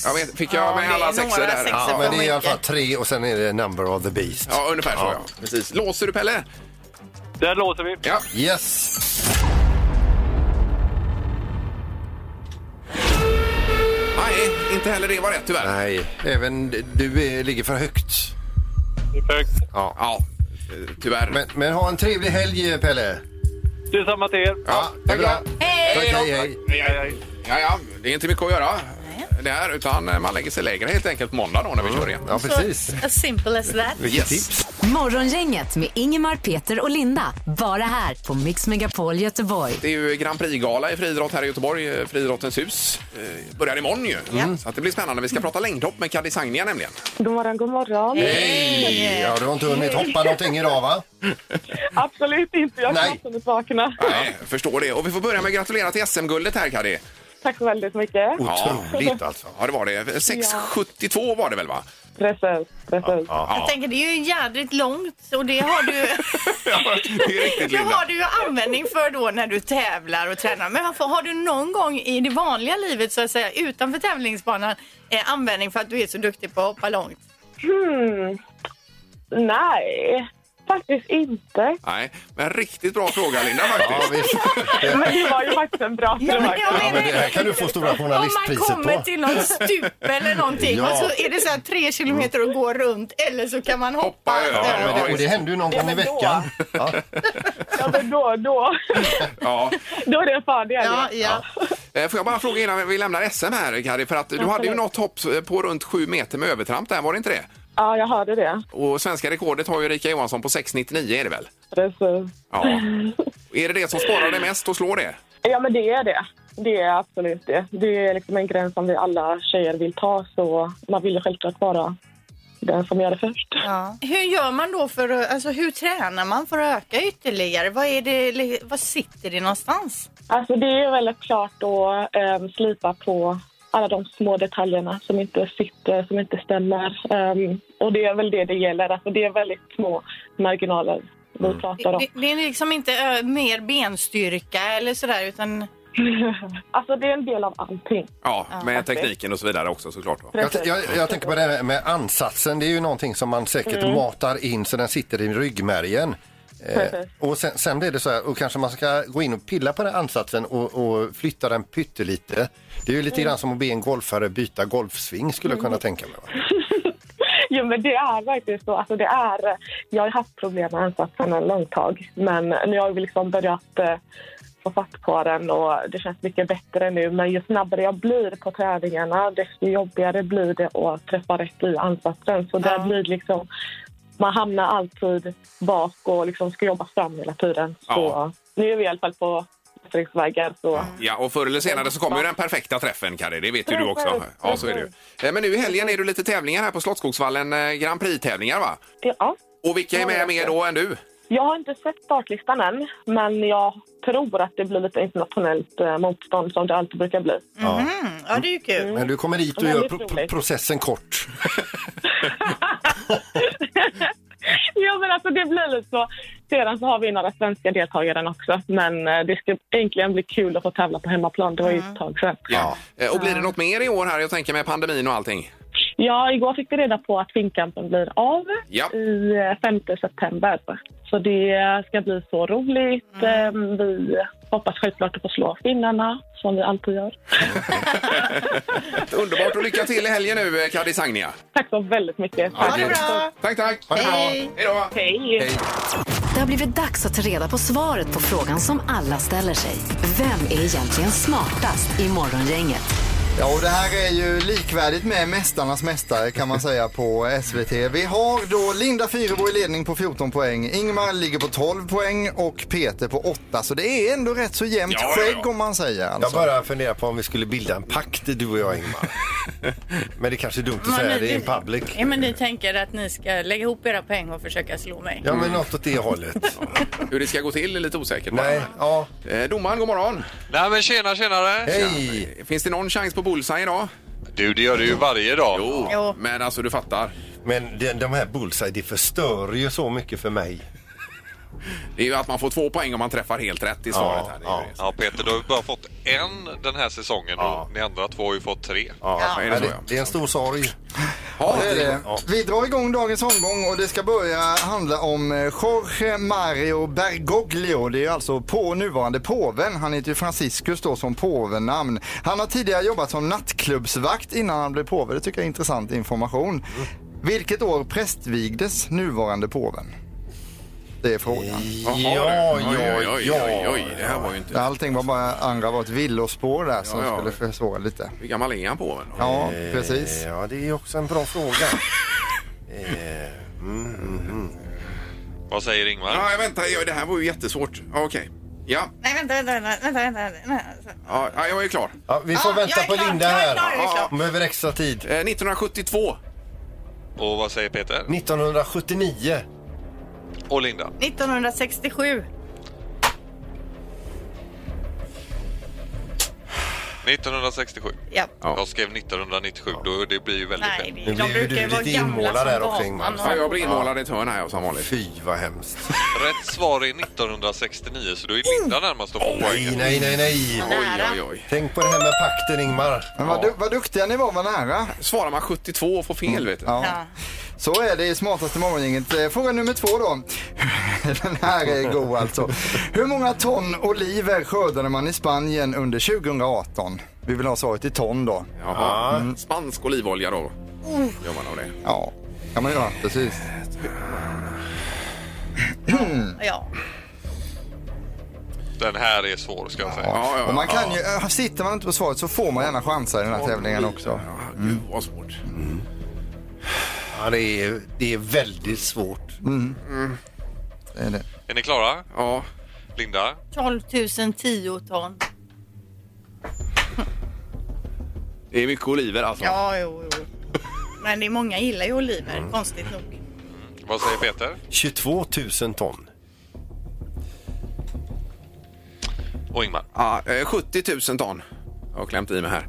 [SPEAKER 2] Jag vet, fick jag
[SPEAKER 12] Ja,
[SPEAKER 2] med
[SPEAKER 12] det är
[SPEAKER 2] alla
[SPEAKER 12] några
[SPEAKER 2] sexor där?
[SPEAKER 12] sexor
[SPEAKER 2] Ja.
[SPEAKER 12] för
[SPEAKER 3] Men det är i
[SPEAKER 12] mycket.
[SPEAKER 3] alla fall tre och sen är det number of the beast.
[SPEAKER 2] ja, ungefär så ja. Precis. Låser du Pelle?
[SPEAKER 6] Där låser vi.
[SPEAKER 2] Ja.
[SPEAKER 3] Yes.
[SPEAKER 2] Nej, inte heller det var rätt tyvärr.
[SPEAKER 3] Nej, även du är, ligger för högt.
[SPEAKER 6] Perfekt.
[SPEAKER 2] Ja, eh, tyvärr.
[SPEAKER 3] Men, men ha en trevlig helg Pelle.
[SPEAKER 6] Det är samma till er.
[SPEAKER 2] ja,
[SPEAKER 3] Det är bra. Tack,
[SPEAKER 2] Hej då.
[SPEAKER 3] hej, hej.
[SPEAKER 6] Hej, hej, hej.
[SPEAKER 2] Ja, ja, det är inte mycket att göra. Det här, utan eh, man lägger sig lägre helt enkelt på måndag då när vi kör igen.
[SPEAKER 3] Ja, precis.
[SPEAKER 4] Så, as simple as that.
[SPEAKER 2] Yes.
[SPEAKER 1] Morgongänget med Ingemar, Peter och Linda. Bara här på Mix Megapol Göteborg.
[SPEAKER 2] Det är ju Grand Prix-gala i friidrott här i Göteborg, eh, Friidrottens hus. Eh, Börjar imorgon ju. Så att det blir spännande. Vi ska prata längdhopp med Kaddi Sagnia nämligen.
[SPEAKER 5] God morgon, god morgon.
[SPEAKER 3] Hej! Ja, du har inte hunnit hoppa någonting idag va?
[SPEAKER 5] Absolut inte, jag
[SPEAKER 3] Nej.
[SPEAKER 5] kan absolut vakna.
[SPEAKER 2] Nej, förstår det. Och vi får börja med att gratulera till SM-guldet här Kaddi.
[SPEAKER 5] Tack så väldigt mycket.
[SPEAKER 3] Otroligt alltså.
[SPEAKER 2] Ja, det var det. 6,72 var det väl va?
[SPEAKER 5] Precis, precis.
[SPEAKER 4] Jag tänker det är ju jädrigt långt och det har du,
[SPEAKER 2] Ja, det är riktigt
[SPEAKER 4] det har
[SPEAKER 2] Linda.
[SPEAKER 4] du ju användning för då när du tävlar och tränar. Men varför har du någon gång i det vanliga livet så att säga utanför tävlingsbanan eh, användning för att du är så duktig på att hoppa långt?
[SPEAKER 5] Hmm. Nej, faktiskt inte.
[SPEAKER 2] Nej, men riktigt bra fråga Linda faktiskt.
[SPEAKER 5] Men det var ju faktiskt en bra
[SPEAKER 4] Ja, men
[SPEAKER 5] fråga.
[SPEAKER 4] jag
[SPEAKER 3] Ja, men det
[SPEAKER 4] menar,
[SPEAKER 3] här kan du få stora
[SPEAKER 12] Om man
[SPEAKER 3] journalistpriset
[SPEAKER 12] kommer
[SPEAKER 3] på.
[SPEAKER 12] till någon stupe eller någonting
[SPEAKER 3] Ja.
[SPEAKER 12] och så
[SPEAKER 4] så alltså, är det så här tre kilometer att gå runt eller så kan man hoppa.
[SPEAKER 2] Hoppa, ja,
[SPEAKER 3] Ja, men det, och det händer ju någon gång i
[SPEAKER 5] men då.
[SPEAKER 3] veckan. Ja.
[SPEAKER 5] Ja, men då, då,
[SPEAKER 2] ja.
[SPEAKER 5] då är det en fördel.
[SPEAKER 4] Ja, ja.
[SPEAKER 2] Eh, Får jag bara fråga innan vi lämnar SM här, Kari, för att du hade ju något hopp på runt sju meter med övertramp där, var det inte det?
[SPEAKER 5] ja, jag hörde det.
[SPEAKER 2] Och svenska rekordet har ju Erika Johansson på 6,99 är det väl?
[SPEAKER 5] Precis.
[SPEAKER 2] Ja. Är det det som sparar dig mest och slår det?
[SPEAKER 5] Ja, men det är det. Det är absolut det. Det är liksom en gräns som vi alla tjejer vill ta, så man vill ju självklart vara den som gör det först.
[SPEAKER 4] Hur gör man då för att- alltså hur tränar man för att öka ytterligare? Vad, är det, li- vad sitter det någonstans?
[SPEAKER 5] Alltså, det är väldigt klart att um, slipa på alla de små detaljerna som inte sitter, som inte stämmer. Ehm, och det är väl det det gäller. Alltså, det är väldigt små marginaler vi pratar om.
[SPEAKER 4] Det, det är liksom inte ö, mer benstyrka eller sådär utan mm,
[SPEAKER 5] Alltså, det är en del av allting.
[SPEAKER 2] Ja, med tekniken och så vidare också såklart. Då.
[SPEAKER 3] Jag, jag, jag tänker på det här med ansatsen. Det är ju någonting som man säkert matar in så den sitter i ryggmärgen. Eh,
[SPEAKER 5] Precis.
[SPEAKER 3] och sen, sen blir det så här, och kanske man ska gå in och pilla på den ansatsen och, och flytta den pyttelite. Det är ju lite grann som att be en golfare byta golfsving skulle jag kunna tänka mig. Va?
[SPEAKER 5] Jo, men det är verkligen så. Alltså, det är, jag har haft problem med ansatsen en lång tag. Men nu har vi liksom börjat eh, få fatt på den och det känns mycket bättre nu. Men ju snabbare jag blir på träningarna desto jobbigare blir det att träffa rätt i ansatsen. Så där blir det liksom, man hamnar alltid bak och liksom ska jobba fram hela tiden. Så
[SPEAKER 2] Ja.
[SPEAKER 5] nu är vi i alla fall på bättringsvägar. Så.
[SPEAKER 2] Ja, och förr eller senare så kommer ju den perfekta träffen, Kari. Det vet ju du också. Ja, så är det ju. Eh, Men nu i helgen är du lite tävlingar här på Slottsskogsvallen, eh, Grand Prix-tävlingar va?
[SPEAKER 5] Ja.
[SPEAKER 2] Och vilka är med mer då än du?
[SPEAKER 5] Jag har inte sett startlistan än, men jag tror att det blir lite internationellt eh, motstånd som det alltid brukar bli.
[SPEAKER 4] mm, ja det är ju kul.
[SPEAKER 3] Men du kommer dit och
[SPEAKER 5] Men
[SPEAKER 3] gör
[SPEAKER 5] det är
[SPEAKER 3] pro- pro-
[SPEAKER 5] roligt.
[SPEAKER 3] processen kort.
[SPEAKER 5] ja, men alltså det blir lite så. Sedan så har vi några svenska deltagare också, men eh, det ska egentligen bli kul att få tävla på hemmaplan. Det var ju
[SPEAKER 2] Mm.
[SPEAKER 5] ett tag sedan.
[SPEAKER 2] Ja. Eh, Och blir det något mer i år här? Jag tänker med pandemin och allting.
[SPEAKER 5] Ja, igår fick vi reda på att finkampen blir av
[SPEAKER 2] Ja.
[SPEAKER 5] i eh, 5 september. Så det ska bli så roligt. Eh, Vi hoppas självklart att få slå finnarna, som vi alltid gör.
[SPEAKER 2] Underbart och lycka till i helgen nu, eh, Kari Sagnia.
[SPEAKER 5] Tack så väldigt mycket.
[SPEAKER 2] Ha det bra! Tack, tack! Ha det bra. Hej då!
[SPEAKER 5] Hej!
[SPEAKER 1] Det har blivit dags att ta reda på svaret på frågan som alla ställer sig. Vem är egentligen smartast i Morgongänget?
[SPEAKER 7] Ja, och det här är ju likvärdigt med Mästarnas mästare kan man säga på SVT. Vi har då Linda Fyrebo i ledning på 14 poäng, Ingmar ligger på 12 poäng och Peter på 8. Så det är ändå rätt så jämnt
[SPEAKER 2] Ja, ja, ja.
[SPEAKER 7] skägg om man säger.
[SPEAKER 3] Jag
[SPEAKER 7] Alltså.
[SPEAKER 3] bara funderar på om vi skulle bilda en pakt du och jag Ingmar. Men det kanske är dumt att
[SPEAKER 12] Men
[SPEAKER 3] säga
[SPEAKER 12] ni-
[SPEAKER 3] det i public.
[SPEAKER 12] Ja, men ni tänker att ni ska lägga ihop era poäng och försöka slå mig.
[SPEAKER 3] Ja men något åt det hållet.
[SPEAKER 2] Hur det ska gå till är lite osäkert. bara.
[SPEAKER 3] Nej, ja.
[SPEAKER 2] Eh, Domaren, god morgon!
[SPEAKER 13] Nej men tjena tjenare!
[SPEAKER 3] Hej!
[SPEAKER 2] Finns det någon chans på bullseye idag?
[SPEAKER 13] Du det gör du ju varje dag.
[SPEAKER 2] Jo,
[SPEAKER 12] Jo.
[SPEAKER 2] men alltså du fattar.
[SPEAKER 3] Men de, de här bullseye, det förstör ju så mycket för mig.
[SPEAKER 2] Det är ju att man får två poäng om man träffar helt rätt i svaret. här. Det är ju
[SPEAKER 3] ja.
[SPEAKER 2] det.
[SPEAKER 13] Ja Peter, du har ju bara fått en den här säsongen
[SPEAKER 3] Ja.
[SPEAKER 13] och ni andra två har ju fått tre.
[SPEAKER 2] Ja, är det
[SPEAKER 3] Men
[SPEAKER 2] så,
[SPEAKER 3] det,
[SPEAKER 2] ja.
[SPEAKER 3] det är en stor sorg.
[SPEAKER 2] Ja,
[SPEAKER 7] Det är det.
[SPEAKER 3] Ja.
[SPEAKER 7] Vi drar igång dagens omgång och det ska börja handla om eh, Jorge Mario Bergoglio. Det är alltså på nuvarande påven. Han heter ju Franciscus då som påvenamn. Han har tidigare jobbat som nattklubbsvakt innan han blev påve. Det tycker jag är intressant information. Vilket år prästvigdes nuvarande påven? Det är frågan.
[SPEAKER 2] Jaha, du.
[SPEAKER 3] Ja,
[SPEAKER 2] Oj,
[SPEAKER 3] ja,
[SPEAKER 2] oj, oj,
[SPEAKER 3] ja.
[SPEAKER 2] oj, oj, det här var ju inte...
[SPEAKER 7] Allting var bara andra var ett villospår där som
[SPEAKER 2] Ja, ja.
[SPEAKER 7] skulle försvåra lite.
[SPEAKER 2] Hur gammal är han på men?
[SPEAKER 7] Ja, precis.
[SPEAKER 3] Eh, Ja, det är också en bra fråga. Eh,
[SPEAKER 13] Vad säger Ingmar?
[SPEAKER 2] Ja, jag väntar, jag- det här var ju jättesvårt. Ja, Okej. Ja,
[SPEAKER 4] Nej vänta, vänta, vänta, vänta, vänta, alltså, vänta.
[SPEAKER 2] ja, ja, jag är klar.
[SPEAKER 3] ja, vi får
[SPEAKER 4] Ja,
[SPEAKER 3] vänta
[SPEAKER 4] jag är
[SPEAKER 3] på
[SPEAKER 4] klar,
[SPEAKER 3] Linda
[SPEAKER 4] jag är
[SPEAKER 3] här.
[SPEAKER 4] klar, jag är
[SPEAKER 3] Ja,
[SPEAKER 4] klar.
[SPEAKER 3] Hon behöver extra tid.
[SPEAKER 2] Eh, 1972.
[SPEAKER 13] Och vad säger Peter?
[SPEAKER 3] 1979.
[SPEAKER 13] Och Linda?
[SPEAKER 4] 1967.
[SPEAKER 13] 1967.
[SPEAKER 4] Ja.
[SPEAKER 13] Jag skrev 1997, då det blir ju väldigt
[SPEAKER 4] Nej,
[SPEAKER 13] fel.
[SPEAKER 4] det- de brukar ju vara gamla som gatan.
[SPEAKER 2] alltså. Ja, jag blir inmålad i ett hörn här jag som vanligt.
[SPEAKER 3] Fy vad hemskt.
[SPEAKER 13] Rätt svar är 1969, så då är Linda närmast att få
[SPEAKER 3] Nej,
[SPEAKER 13] poängen.
[SPEAKER 3] nej, nej, nej.
[SPEAKER 2] Oj, oj, oj.
[SPEAKER 3] Tänk på det här med pakten Ingmar.
[SPEAKER 7] Men vad, du, vad duktiga ni var, vad nära.
[SPEAKER 2] Svarar man 72 och får fel vet du.
[SPEAKER 7] Mm. Ja.
[SPEAKER 4] Ja.
[SPEAKER 7] Så är det i smartaste morgongänget. Eh, Fråga nummer två då. Den här är god alltså. Hur många ton oliver skördade man i Spanien under 2018? Vi vill ha svaret i ton då.
[SPEAKER 2] Jaha. Mm. Spansk olivolja då. Gör man av det.
[SPEAKER 7] Ja, kan man göra. Precis.
[SPEAKER 4] Ja.
[SPEAKER 13] Den här är svår, ska jag säga.
[SPEAKER 2] Ja, ja,
[SPEAKER 7] Och man kan ju, eh, sitter man inte på svaret så får man gärna chansa i den här tävlingen också.
[SPEAKER 2] Ja, gud vad svårt.
[SPEAKER 3] Ja, det, är, det är väldigt svårt.
[SPEAKER 7] Det är det.
[SPEAKER 13] Är ni klara?
[SPEAKER 2] Ja.
[SPEAKER 13] Linda?
[SPEAKER 4] 12 010 ton.
[SPEAKER 2] Det är mycket oliver alltså.
[SPEAKER 4] Ja, jo, jo. Men det är många gillar ju oliver, konstigt nog.
[SPEAKER 13] Vad säger Peter?
[SPEAKER 3] 22 000 ton.
[SPEAKER 13] Och Ingmar?
[SPEAKER 2] Ja, eh, 70 000 ton. Jag har klämt i mig här.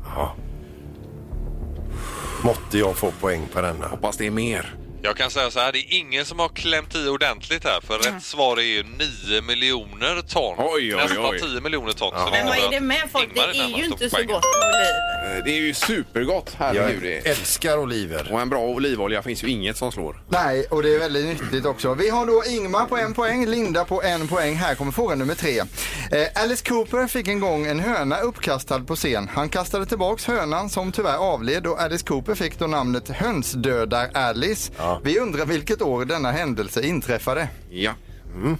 [SPEAKER 3] Måtte jag få poäng på denna.
[SPEAKER 2] Hoppas det är mer.
[SPEAKER 13] Jag kan säga så här, det är ingen som har klämt i ordentligt här för rätt svar är ju 9 miljoner ton.
[SPEAKER 2] Oj, oj,
[SPEAKER 13] Nästan
[SPEAKER 2] oj.
[SPEAKER 13] 10 miljoner ton. Så
[SPEAKER 4] Men vad
[SPEAKER 13] innebär
[SPEAKER 4] är det med
[SPEAKER 13] att
[SPEAKER 4] folk? Det
[SPEAKER 13] Ingmar
[SPEAKER 4] är ju
[SPEAKER 13] närmast
[SPEAKER 4] inte
[SPEAKER 13] och
[SPEAKER 4] så
[SPEAKER 13] poängen.
[SPEAKER 4] gott med oliver.
[SPEAKER 2] Eh, Det är ju supergott.
[SPEAKER 3] Jag
[SPEAKER 2] Herregud. det är-
[SPEAKER 3] älskar oliver.
[SPEAKER 2] Och en bra olivolja finns ju inget som slår.
[SPEAKER 7] Nej, och det är väldigt nyttigt också. Vi har då Ingmar på en poäng, Linda på en poäng. Här kommer fråga nummer tre. Eh, Alice Cooper fick en gång en höna uppkastad på scen. Han kastade tillbaks hönan som tyvärr avled och Alice Cooper fick då namnet Hönsdödar-Alice. Vi undrar vilket år denna händelse inträffade.
[SPEAKER 2] Ja. Mm.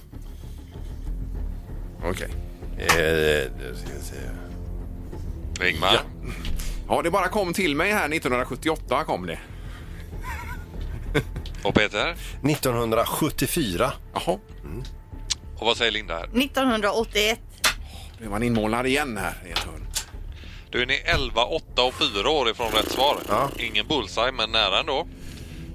[SPEAKER 2] Okej.
[SPEAKER 3] Eh, det ska jag säga.
[SPEAKER 13] Ingmar?
[SPEAKER 2] Ja, det bara kom till mig här 1978 kom det.
[SPEAKER 13] Och Peter?
[SPEAKER 3] 1974.
[SPEAKER 2] Jaha,
[SPEAKER 13] Och vad säger Linda här?
[SPEAKER 4] 1981.
[SPEAKER 2] blev man inmålad igen här i ett hörn.
[SPEAKER 13] Då är ni 11, 8 och 4 år ifrån rätt svar.
[SPEAKER 3] Ja.
[SPEAKER 13] Ingen bullseye, men nära ändå.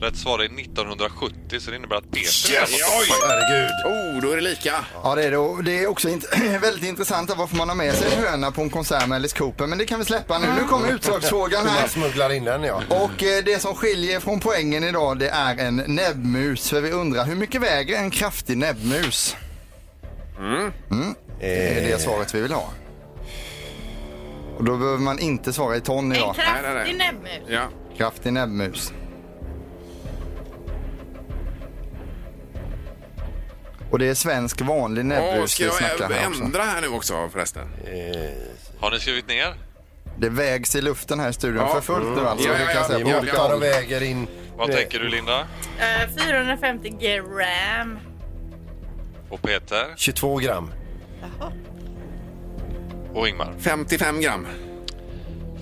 [SPEAKER 13] Rätt svar är 1970 så det innebär att Peter
[SPEAKER 2] Yes! Oj!
[SPEAKER 3] Herregud.
[SPEAKER 2] Oh, då är det lika.
[SPEAKER 7] Ja, det är, då, det är också int- väldigt intressant varför man har med sig en höna på en konsert med Alice Cooper, men det kan vi släppa nu. Nu kommer utslagsfrågan
[SPEAKER 3] Hur
[SPEAKER 7] här.
[SPEAKER 3] man smugglar in den, ja.
[SPEAKER 7] Och eh, det som skiljer från poängen idag det är en näbbmus. För vi undrar hur mycket väger en kraftig näbbmus?
[SPEAKER 2] Mm.
[SPEAKER 7] Mm. Det är
[SPEAKER 2] Eh.
[SPEAKER 7] det svaret vi vill ha. Och då behöver man inte svara i ton
[SPEAKER 4] En
[SPEAKER 7] idag.
[SPEAKER 2] Nej, nej,
[SPEAKER 4] kraftig
[SPEAKER 2] nej.
[SPEAKER 4] näbbmus.
[SPEAKER 2] Ja.
[SPEAKER 7] Kraftig näbbmus. Och det är svensk vanlig
[SPEAKER 2] Åh,
[SPEAKER 7] näbbmus
[SPEAKER 2] ska
[SPEAKER 7] vi
[SPEAKER 2] jag
[SPEAKER 7] snackar här också.
[SPEAKER 2] ändra här nu också förresten?
[SPEAKER 3] Eh,
[SPEAKER 13] Har ni skrivit ner?
[SPEAKER 7] Det vägs i luften här i studion
[SPEAKER 2] Ja.
[SPEAKER 7] för fullt nu alltså.
[SPEAKER 2] Ja,
[SPEAKER 7] vi
[SPEAKER 2] ja,
[SPEAKER 7] kan
[SPEAKER 2] ja,
[SPEAKER 7] säga
[SPEAKER 3] Vi
[SPEAKER 7] på
[SPEAKER 2] ja,
[SPEAKER 7] olika
[SPEAKER 2] ja.
[SPEAKER 3] måttar
[SPEAKER 7] håll.
[SPEAKER 3] och väger in.
[SPEAKER 13] Vad
[SPEAKER 3] Eh,
[SPEAKER 13] tänker du Linda?
[SPEAKER 4] Eh, 450 gram.
[SPEAKER 13] Och Peter?
[SPEAKER 3] 22 gram.
[SPEAKER 13] Och Ingmar?
[SPEAKER 2] 55 gram.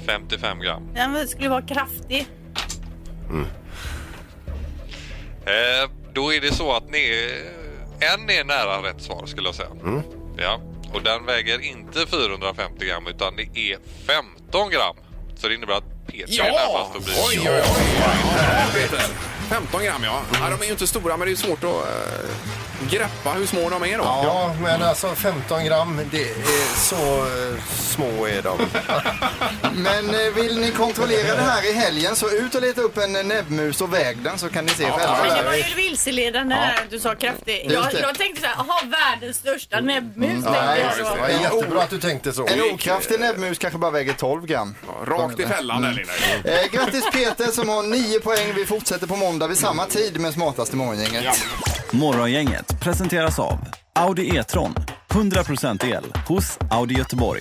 [SPEAKER 13] 55 gram.
[SPEAKER 4] Den skulle vara kraftig.
[SPEAKER 13] Eh, då är det så att ni en är nära rätt svar skulle jag säga. Ja, och den väger inte 450 gram utan det är 15 gram. Så det innebär att Peter är närmast att bli...
[SPEAKER 2] Oj, oj, oj! Ja, Peter. 15 gram, ja. ja. De är ju inte stora, men det är ju svårt att eh, greppa hur små de är då.
[SPEAKER 3] Ja, men alltså 15 gram, det är så eh, små är de.
[SPEAKER 7] Men eh, vill ni kontrollera det här i helgen så ut och leta upp en eh, näbbmus och väg den så kan ni se
[SPEAKER 4] Men det
[SPEAKER 7] själva.
[SPEAKER 4] var ju vilseledande här att du sa kraftig. Jag,
[SPEAKER 7] det.
[SPEAKER 4] jag tänkte så här, jaha, världens största näbbmus tänkte
[SPEAKER 7] Nej,
[SPEAKER 4] jag
[SPEAKER 7] just
[SPEAKER 4] då.
[SPEAKER 3] Det var jättebra att du tänkte så.
[SPEAKER 7] En okraftig näbbmus kanske bara väger 12 gram.
[SPEAKER 2] Rakt i fällan där lilla.
[SPEAKER 7] Eh, grattis Peter som har 9 poäng. Vi fortsätter på måndag vid samma tid med Smartaste Morgongänget.
[SPEAKER 14] Morgongänget presenteras av Audi E-tron. 100% el hos Audi Göteborg.